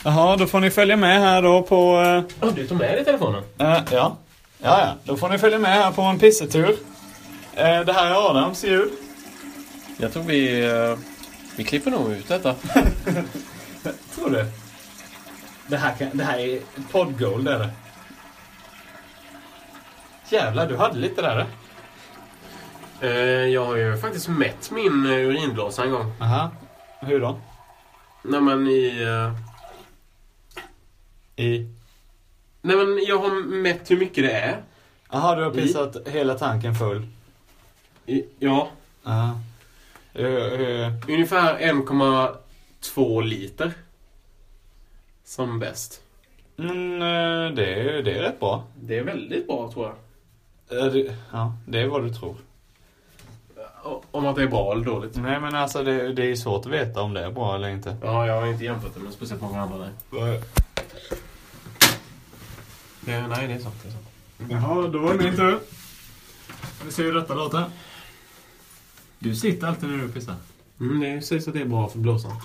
A: Jaha, då får ni följa med här då på... Eh,
B: Oh, du tog med dig telefonen?
A: eh, ja. ja, ja. Då får ni följa med här på en pissetur. Eh, det här är Adams ljud.
B: Jag tror vi... eh, vi klipper nog ut detta.
A: Tror du? Det här, kan, det här är poddgold är det. Jävlar, du hade lite där. eh.
B: Eh, jag har ju faktiskt mätt min eh, urinblåsa en gång.
A: Aha. Hur då?
B: Nej men i... eh,
A: I?
B: Nej men jag har mätt hur mycket det är.
A: Jaha, du har pissat hela tanken full.
B: I, ja,
A: Aha. Eh, eh,
B: ungefär 1,2 liter. Som bäst.
A: Men eh, det, är- det är rätt bra.
B: Det är väldigt bra tror jag.
A: Eh, det- Ja, det är vad du tror.
B: O- Om att det är bra eller dåligt.
A: Nej men alltså det, det är svårt att veta om det är bra eller inte.
B: Ja, jag har inte jämfört det med speciellt många andra nej. Det, nej, det är sant. Det är sant.
A: Jaha, då var det min tur. Vi ser hur detta låter. Du sitter alltid när du pissar.
B: Mm, det sägs att det är bra för blåsan.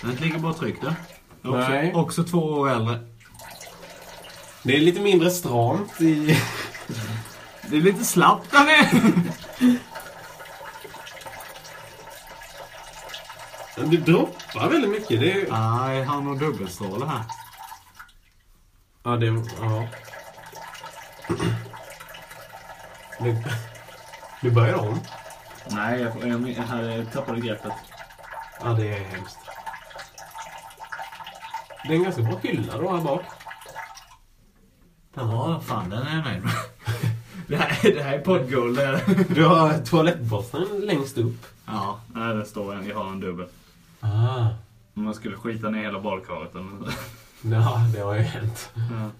A: Det är ett lika bra tryck där.
B: Nej.
A: också två år äldre.
B: Det är lite mindre stramt i...
A: Det är lite slappt där nere.
B: Det droppar väldigt mycket. Det är...
A: Nej, han har nog dubbelstråle här.
B: Ja, det... Ja. Det, det börjar om.
A: Nej, jag, jag, jag hade tappade greppet.
B: Ja, det är hemskt. Det är en ganska bra hylla då här bak.
A: Ja, fan den är jag nöjd med. Det här, det här är poddgold. det är det.
B: Du har toalettborsten längst upp.
A: Ja, nej, det står en. Jag har en dubbel.
B: Ah.
A: Om man skulle skita ner hela badkaret eller något.
B: Ja, det har ju hänt.
A: Ja.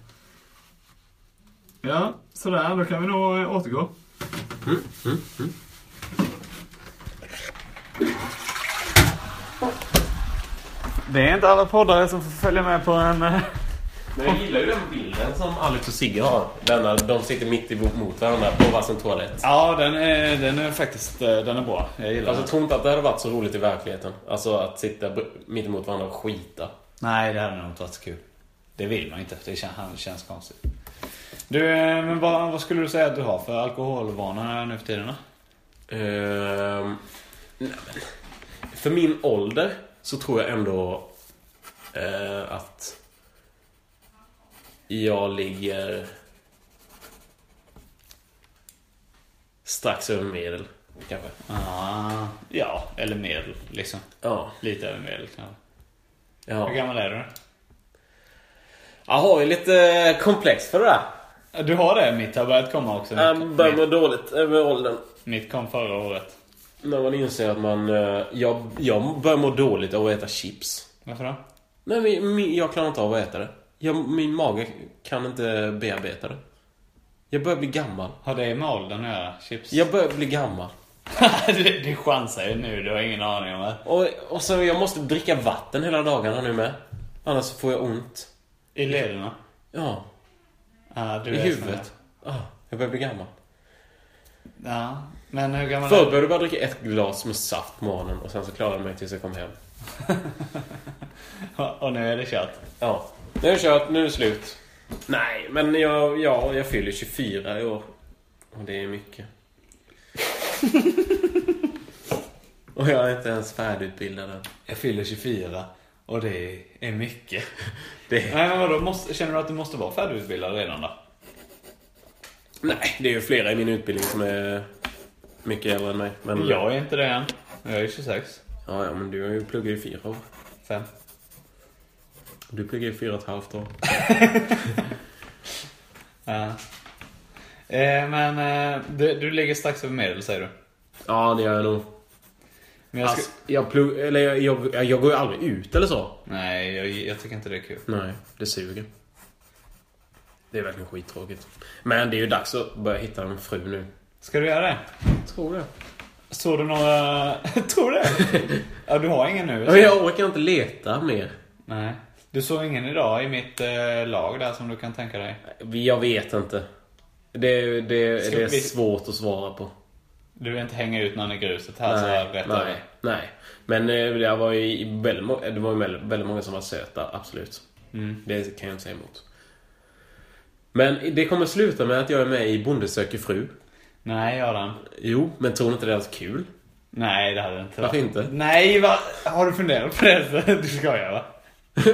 A: ja, sådär. Då kan vi nog eh, återgå. Mm, Det är inte alla poddare som får följa med på en, eh,
B: Men jag gillar ju den bilden som Alex och Sigge har. Denna, de sitter mitt emot varandra på varsin toalett.
A: Ja, den är, den är faktiskt eh, den är bra. Jag gillar den.
B: Alltså, jag tror inte att det hade varit så roligt i verkligheten. Alltså att sitta br- mitt emot varandra och skita.
A: Nej, det hade nog inte varit så kul. Det vill man inte. Det kän- han- känns konstigt. Du, eh, men vad, vad skulle du säga att du har för alkoholvanor här nu för tiden då?
B: Ehm, nej, men, för min ålder så tror jag ändå eh, att jag ligger strax över medel, kanske.
A: Ah, ja, eller medel liksom.
B: Ja.
A: Lite över medel kanske.
B: ja.
A: Hur gammal är du?
B: Jag har ju lite komplex för det där.
A: Eh, Du har det? Mitt har börjat komma också.
B: Jag börjar må dåligt över åldern.
A: Mitt kom förra året.
B: När man inser att man... eh, Jag, jag börjar må dåligt av att äta chips.
A: Varför då?
B: Nej, men min, jag klarar inte av att äta det. Jag, min mage kan inte bearbeta det. Jag börjar bli gammal.
A: Har det med åldern att göra? Chips?
B: Jag börjar bli gammal.
A: du, du chansar ju nu. Du har ingen aning om det.
B: Och, och så jag måste dricka vatten hela dagarna nu med. Annars får jag ont.
A: I lederna?
B: Ja,
A: Ja, du
B: i
A: är
B: huvudet. Ah, jag börjar bli gammal.
A: sån där. Ja. Men hur gammal är
B: Förr
A: du?
B: började jag bara dricka ett glas med saft på morgonen och sen så klarade jag mig tills jag kom hem.
A: Och nu är det kört.
B: Ja, nu är det kört, nu är det slut. Nej, men jag, ja, jag fyller 24 i år. Och det är mycket. och jag är inte ens färdigutbildad än.
A: Jag fyller 24 och det är mycket.
B: Det är...
A: Nej men vadå, måste, känner du att du måste vara färdigutbildad redan då?
B: Nej, det är ju flera i min utbildning som är mycket äldre än mig. Men...
A: Jag är inte det än. Jag är 26.
B: Ja, ja, men du har ju pluggat i fyra år.
A: 5.
B: Du pluggar i fyra och ett halvt år.
A: Eh, men eh, du, du ligger strax över medel säger du?
B: Ja, det gör jag nog.
A: Men jag
B: Jag,
A: ska...
B: alltså, jag, plugg... Eller jag, jag, jag går ju aldrig ut eller så.
A: Nej, jag, jag tycker inte det är kul.
B: Nej, det suger. Det är verkligen skittråkigt. Men det är ju dags att börja hitta en fru nu.
A: Ska du göra det?
B: Tror det.
A: Såg du några... Tror du? ja, du har ingen nu?
B: Men jag orkar inte leta mer.
A: Nej. Du såg ingen idag i mitt eh, lag där som du kan tänka dig?
B: Jag vet inte. Det, det,
A: Ska
B: det är
A: vi-
B: svårt att svara på.
A: Du vill inte hänga ut någon i gruset här så jag rätt
B: nej, nej. Men eh, det var ju i väldigt, må- det var ju väldigt- väldigt många som var söta, absolut.
A: Mm.
B: Det kan jag inte säga emot. Men det kommer sluta med att jag är med i Bonde söker fru.
A: Nej, Göran.
B: Jo, men tror ni inte det är alls kul?
A: Nej, det hade det inte
B: Varför
A: varit.
B: inte?
A: Nej, va? Har du funderat på det? Du skojar va?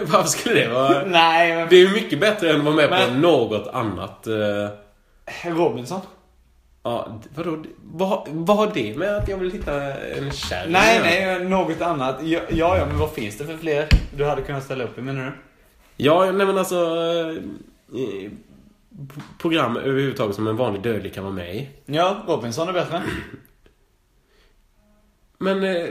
B: Varför skulle det vara...
A: Nej, men...
B: Det är ju mycket bättre än att vara med på
A: Men-
B: något annat. eh,
A: Robinson?
B: Ja, d- vadå? D- Vad, har- vad har det med att jag vill hitta en kärring?
A: Nej,
B: att göra?
A: nej, men något annat. Ja, ja, ja, men vad finns det för fler du hade kunnat ställa upp i menar du?
B: Ja, nej men alltså... eh, eh, p- Program överhuvudtaget som en vanlig dödlig kan vara med i.
A: Ja, Robinson är bättre.
B: Men eh,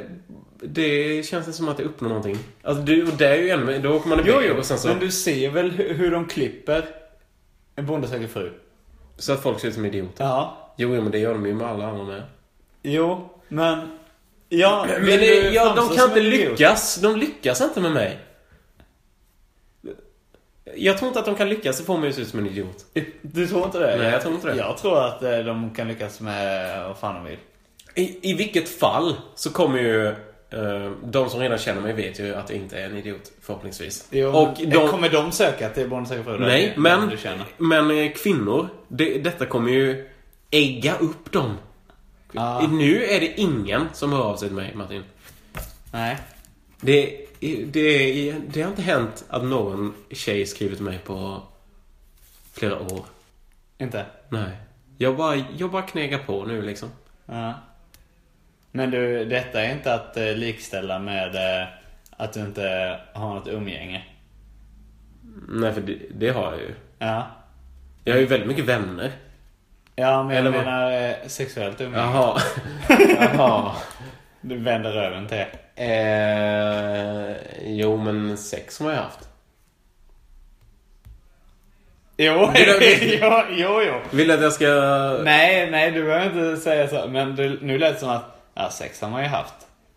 B: det känns inte som att det uppnår någonting. Alltså, du, och det är ju ännu... Då åker man iväg
A: Jo, jo,
B: och sen så...
A: men du ser väl hur, hur de klipper en Bonde söker fru?
B: Så att folk ser ut som idioter.
A: Ja.
B: Jo, jo, men det gör de ju med alla andra med.
A: Jo, men... Ja,
B: Men
A: vill
B: det,
A: du
B: ja, de
A: framstå som
B: kan inte
A: en idiot?
B: lyckas. De lyckas inte med mig. Jag tror inte att de kan lyckas. Det får mig att se ut som en idiot.
A: Du tror inte det?
B: Nej, jag tror inte det.
A: Jag tror att eh, de kan lyckas med vad fan de vill.
B: I, I vilket fall så kommer ju... eh, de som redan känner mig vet ju att jag inte är en idiot, förhoppningsvis.
A: Jo,
B: och
A: men- eh,
B: de,
A: Kommer de söka till Bonde söker fru?
B: nej,
A: Eller
B: men,
A: Du känner.
B: men eh, kvinnor, det, detta kommer ju ägga upp dem.
A: Ja.
B: Nu är det ingen som hör av sig till mig, Martin.
A: Nej.
B: Det, det, det har inte hänt att någon tjej skrivit till mig på flera år.
A: Inte?
B: Nej. Jag bara, jag bara knegar på nu liksom.
A: Ja. Men du, detta är inte att eh, likställa med eh, att du inte har något umgänge.
B: Nej, för det, det har jag ju.
A: Ja.
B: Jag har ju väldigt mycket vänner.
A: Ja, men jag
B: Eller vad?
A: menar eh, sexuellt umgänge.
B: Jaha. Jaha.
A: Du vänder röven till.
B: Eh, jo, men sex har jag haft.
A: Jo,
B: Det där vet-
A: jo, jo, jo.
B: Vill du att jag ska...
A: Nej, nej, du behöver inte säga så. Men du, nu lät det som att ja, sex har man ju haft.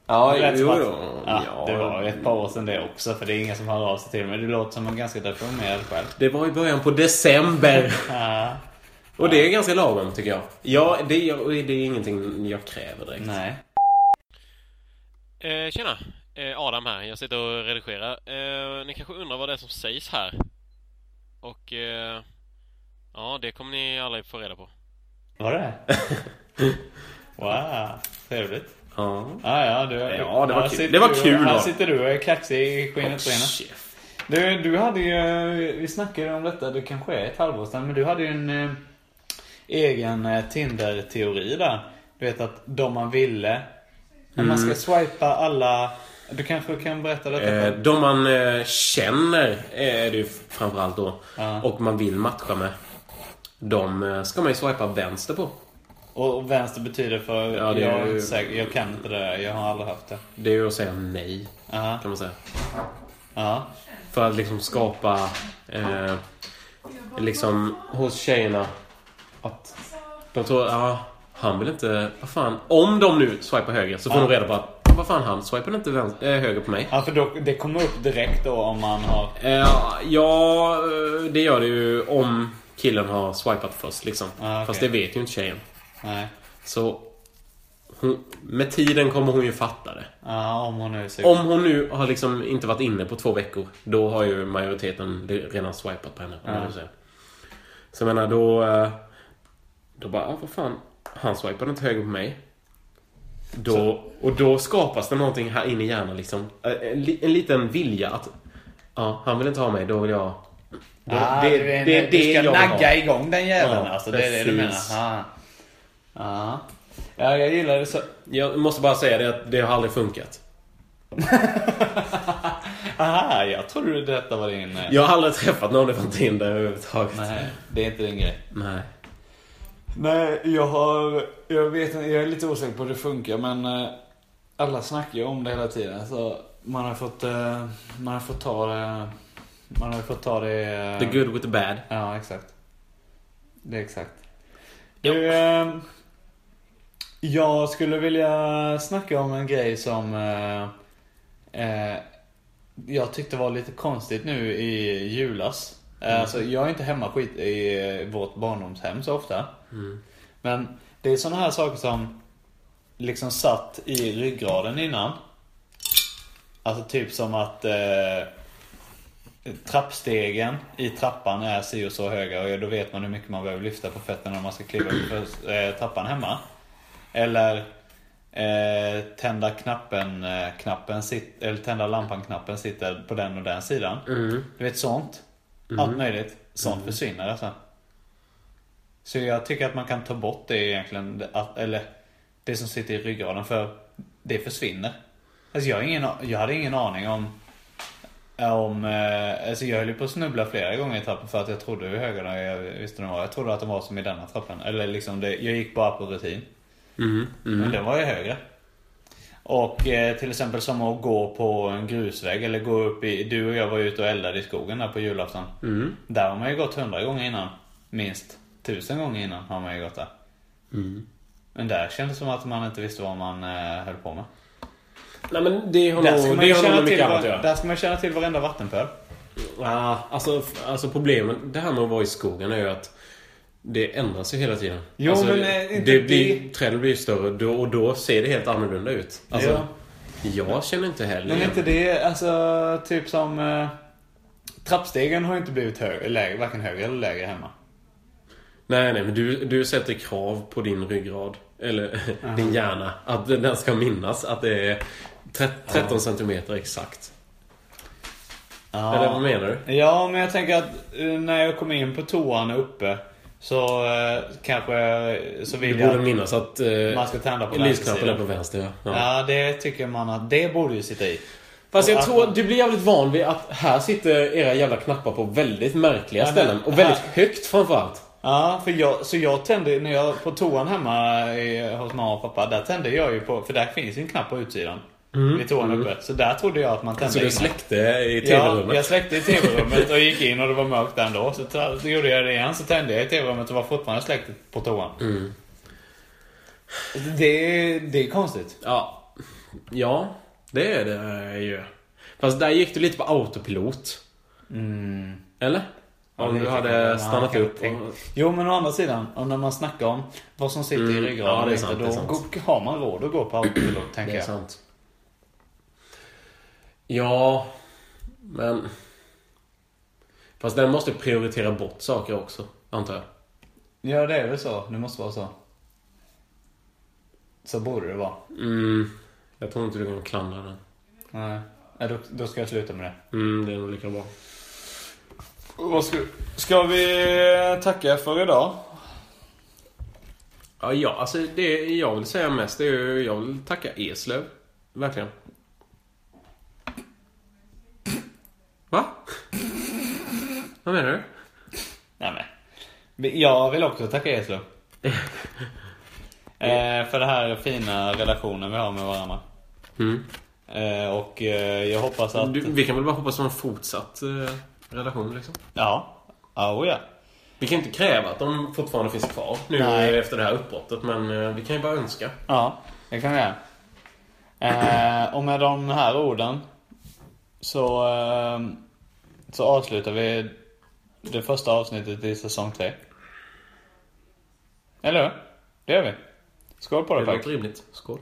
B: Ja,
A: Det lät som
B: jo,
A: att-
B: jo.
A: Ja,
B: Ja,
A: det var ett par år sedan det också, för det är ingen som hör av sig till mig. Du låter som en ganska deprimerad själv.
B: Det var i början på december.
A: Ja,
B: Och det är ganska lagom tycker jag. Ja, det, är- det är ingenting jag kräver direkt.
A: nej.
D: Eh, tjena! Eh, Adam här. Jag sitter och redigerar. Eh, ni kanske undrar vad det är som sägs här? Och... Eh, ja, det kommer ni aldrig få reda på.
A: Var det? Wow, trevligt.
B: Ja.
A: Ja, ja, du,
B: Ja, det var
A: här
B: kul.
A: sitter
B: Det var
A: du-
B: kul
A: Här
B: då.
A: sitter du och är kaxig i
B: Oh,
A: skinnet på ena.
B: chef.
A: Du, du hade ju, vi snackade ju om detta, det kanske är ett halvår sedan, men du hade ju en eh, egen eh, Tinder-teori där. Du vet att de man ville, när man ska swipa alla, du kanske kan berätta detta?
B: Mm. Eh, De man eh, känner eh, är det ju framförallt då.
A: Ja.
B: Och man vill matcha med. De eh, ska man ju swipa vänster på.
A: Och, och vänster betyder för,
B: Ja, det är
A: jag, är
B: ju-
A: inte säker, jag kan inte det, där, jag har aldrig haft det.
B: Det är ju att säga nej,
A: Ja,
B: kan man säga.
A: ja,
B: För att liksom skapa... Eh, liksom hos tjejerna att de tror ja, han vill inte... Vad fan. Om de nu swipar höger så får de reda på att vad fan han swipar inte vänster, eh, höger på mig.
A: ja för då, det kommer upp direkt då om man har,
B: Eh, ja, eh, det gör det ju om killen har swipat först liksom.
A: Ah, okej.
B: Fast det vet ju inte tjejen.
A: nej,
B: Så hon, med tiden kommer hon ju fatta det.
A: ja om hon nu är sugen.
B: Om hon nu har liksom inte varit inne på två veckor, då har ju majoriteten redan swipat på henne. om man nu säger. Så jag menar, då... eh, Då bara, ah, vad fan, han swipade inte höger på mig. Då, och då skapas det någonting här inne i hjärnan liksom. Eh, En, li- en liten vilja att, ja, han vill inte ha mig, då vill jag... Då,
A: Ah,
B: det,
A: du
B: det,
A: är-
B: det är
A: du
B: det jag
A: ska
B: vill
A: nagga
B: ha.
A: igång den jäveln
B: Ja,
A: alltså. Det är det du menar.
B: precis.
A: Ah. Ah. Ja, jag gillar det så.
B: Jag måste bara säga det, att det har aldrig funkat.
A: Aha, jag trodde detta var din... eh,
B: Jag har aldrig träffat någon från Tinder överhuvudtaget.
A: Nej, det är inte din grej.
B: Nej.
A: Nej, jag har... Jag vet inte, jag är lite osäker på hur det funkar men eh, alla snackar ju om det hela tiden så man har fått... eh, Man har fått ta det... Man har fått ta det... eh,
B: The good with the bad.
A: Ja, exakt. Det är exakt.
B: Ja.
A: Du, eh, jag skulle vilja snacka om en grej som eh, eh, jag tyckte var lite konstigt nu i julas. Eh, Alltså, jag är inte hemma skit i eh, vårt barndomshem så ofta. Men det är sådana här saker som liksom satt i ryggraden innan. Alltså typ som att eh, trappstegen i trappan är si och så höga och då vet man hur mycket man behöver lyfta på fötterna när man ska kliva upp för eh, trappan hemma. Eller eh, tända knappen, eh, knappen sit, eller tända lampan-knappen sitter på den och den sidan. Du vet sånt. Allt möjligt. Sånt försvinner alltså. Så jag tycker att man kan ta bort det egentligen. det- Att, eller det som sitter i ryggraden. För det försvinner. Alltså jag, har ingen, a- jag hade ingen aning om... om eh, alltså jag höll ju på att snubbla flera gånger i trappen för att jag trodde hur höga de- jag visste de var. Jag trodde att de var som i denna trappen. Eller liksom det, jag gick bara på rutin.
B: Mm.
A: Men den var ju högre. Och eh, till exempel som att gå på en grusväg eller gå upp i... Du och jag var ute och eldade i skogen där på julafton. Där har man ju gått hundra gånger innan. Minst tusen gånger innan har man ju gått där. Mm. Men där kändes det som att man inte visste vad man eh, höll på med.
B: Nej men det har
A: Där ska,
B: nog,
A: man
B: det
A: ju
B: har nog
A: känna
B: med
A: till,
B: mycket annat att
A: var-
B: göra.
A: där ska man känna till varenda vattenpöl.
B: Ah, alltså, f- alltså problemet, det här med att vara i skogen är ju att det ändras ju hela tiden.
A: Jo,
B: alltså,
A: men,
B: det,
A: eh, inte
B: det blir,
A: det-
B: Träden blir ju större då, och då ser det helt annorlunda ut. Alltså,
A: Ja.
B: Jag känner inte heller
A: Men
B: igen
A: inte det, alltså typ som... Eh, trappstegen har ju inte blivit högre, lägre, varken högre eller lägre hemma.
B: Nej, nej, men du, du sätter krav på din ryggrad. Eller din hjärna. Att den ska minnas att det är tre- 13 centimeter exakt.
A: Ja.
B: Eller vad menar du?
A: Ja, men jag tänker att eh, när jag kommer in på toan uppe så eh, kanske jag- så
B: Du
A: vill
B: borde
A: jag...
B: minnas att... Eh,
A: Man ska tända på
B: Lysknappen
A: vänster
B: är på vänster, ja. ja.
A: Ja, det tycker man att det borde ju sitta i.
B: Fast
A: Och
B: jag
A: att-
B: tror du blir jävligt van vid att här sitter era jävla knappar på väldigt märkliga
A: Ja, men-
B: ställen. Och väldigt högt framförallt.
A: Ja, för jag, så jag tände, när jag på toan hemma i, hos mamma och pappa, där tände jag ju på, för där finns ju en knapp på utsidan. Vid toan uppe. Så där trodde jag att man tände
B: Så du
A: innan.
B: släckte i
A: Ja,
B: tv-rummet.
A: jag släckte i tv-rummet och gick in och det var mörkt ändå. Så, t- så gjorde jag det igen, så tände jag i tv-rummet och var fortfarande
B: Mm.
A: släckt på toan. Det, det är konstigt.
B: Ja, Ja, det är det ju. Fast där gick du lite på autopilot.
A: Mm.
B: Eller? Om
A: det
B: du
A: kan jag- ja,
B: hade stannat
A: kan jag
B: upp
A: tänka.
B: och...
A: Jo, men å andra sidan, om när man snackar om vad som sitter i
B: Mm,
A: ryggraden,
B: ja, det är
A: lite,
B: sant,
A: då
B: det är sant.
A: går- har man råd att gå på autopilot, tänker
B: Det är
A: jag.
B: sant. Ja, men... Fast den måste prioritera bort saker också, antar jag.
A: Ja, det är väl så. Det måste vara så. Så borde det vara.
B: Mm, jag tror inte du kan klandra den.
A: Nej, Nej, då, då ska jag sluta med det.
B: Mm, det är nog lika bra.
C: Ska vi tacka för idag?
B: Ja, ja, alltså det jag vill säga mest är ju... Jag vill tacka Eslöv. Verkligen. Va? Vad menar du?
A: Nej, men. Vi- Jag vill också tacka Eslöv. eh, för det här fina relationen vi har med varandra.
B: Mm.
A: Eh, och eh, jag hoppas att...
B: Du, vi kan väl bara hoppas på en fortsatt eh, relation liksom.
A: Ja. Oh, ja.
B: Vi kan inte kräva att de fortfarande finns kvar nu
A: Nej.
B: efter det här uppbrottet, men eh, vi kan ju bara önska.
A: Ja, det kan vi göra. Eh, och med de här orden så, eh, så avslutar vi det första avsnittet i säsong 3. Eller hur? Det gör vi. Skål på
B: Det
A: dig
B: låter
A: Pack.
B: rimligt. Skål.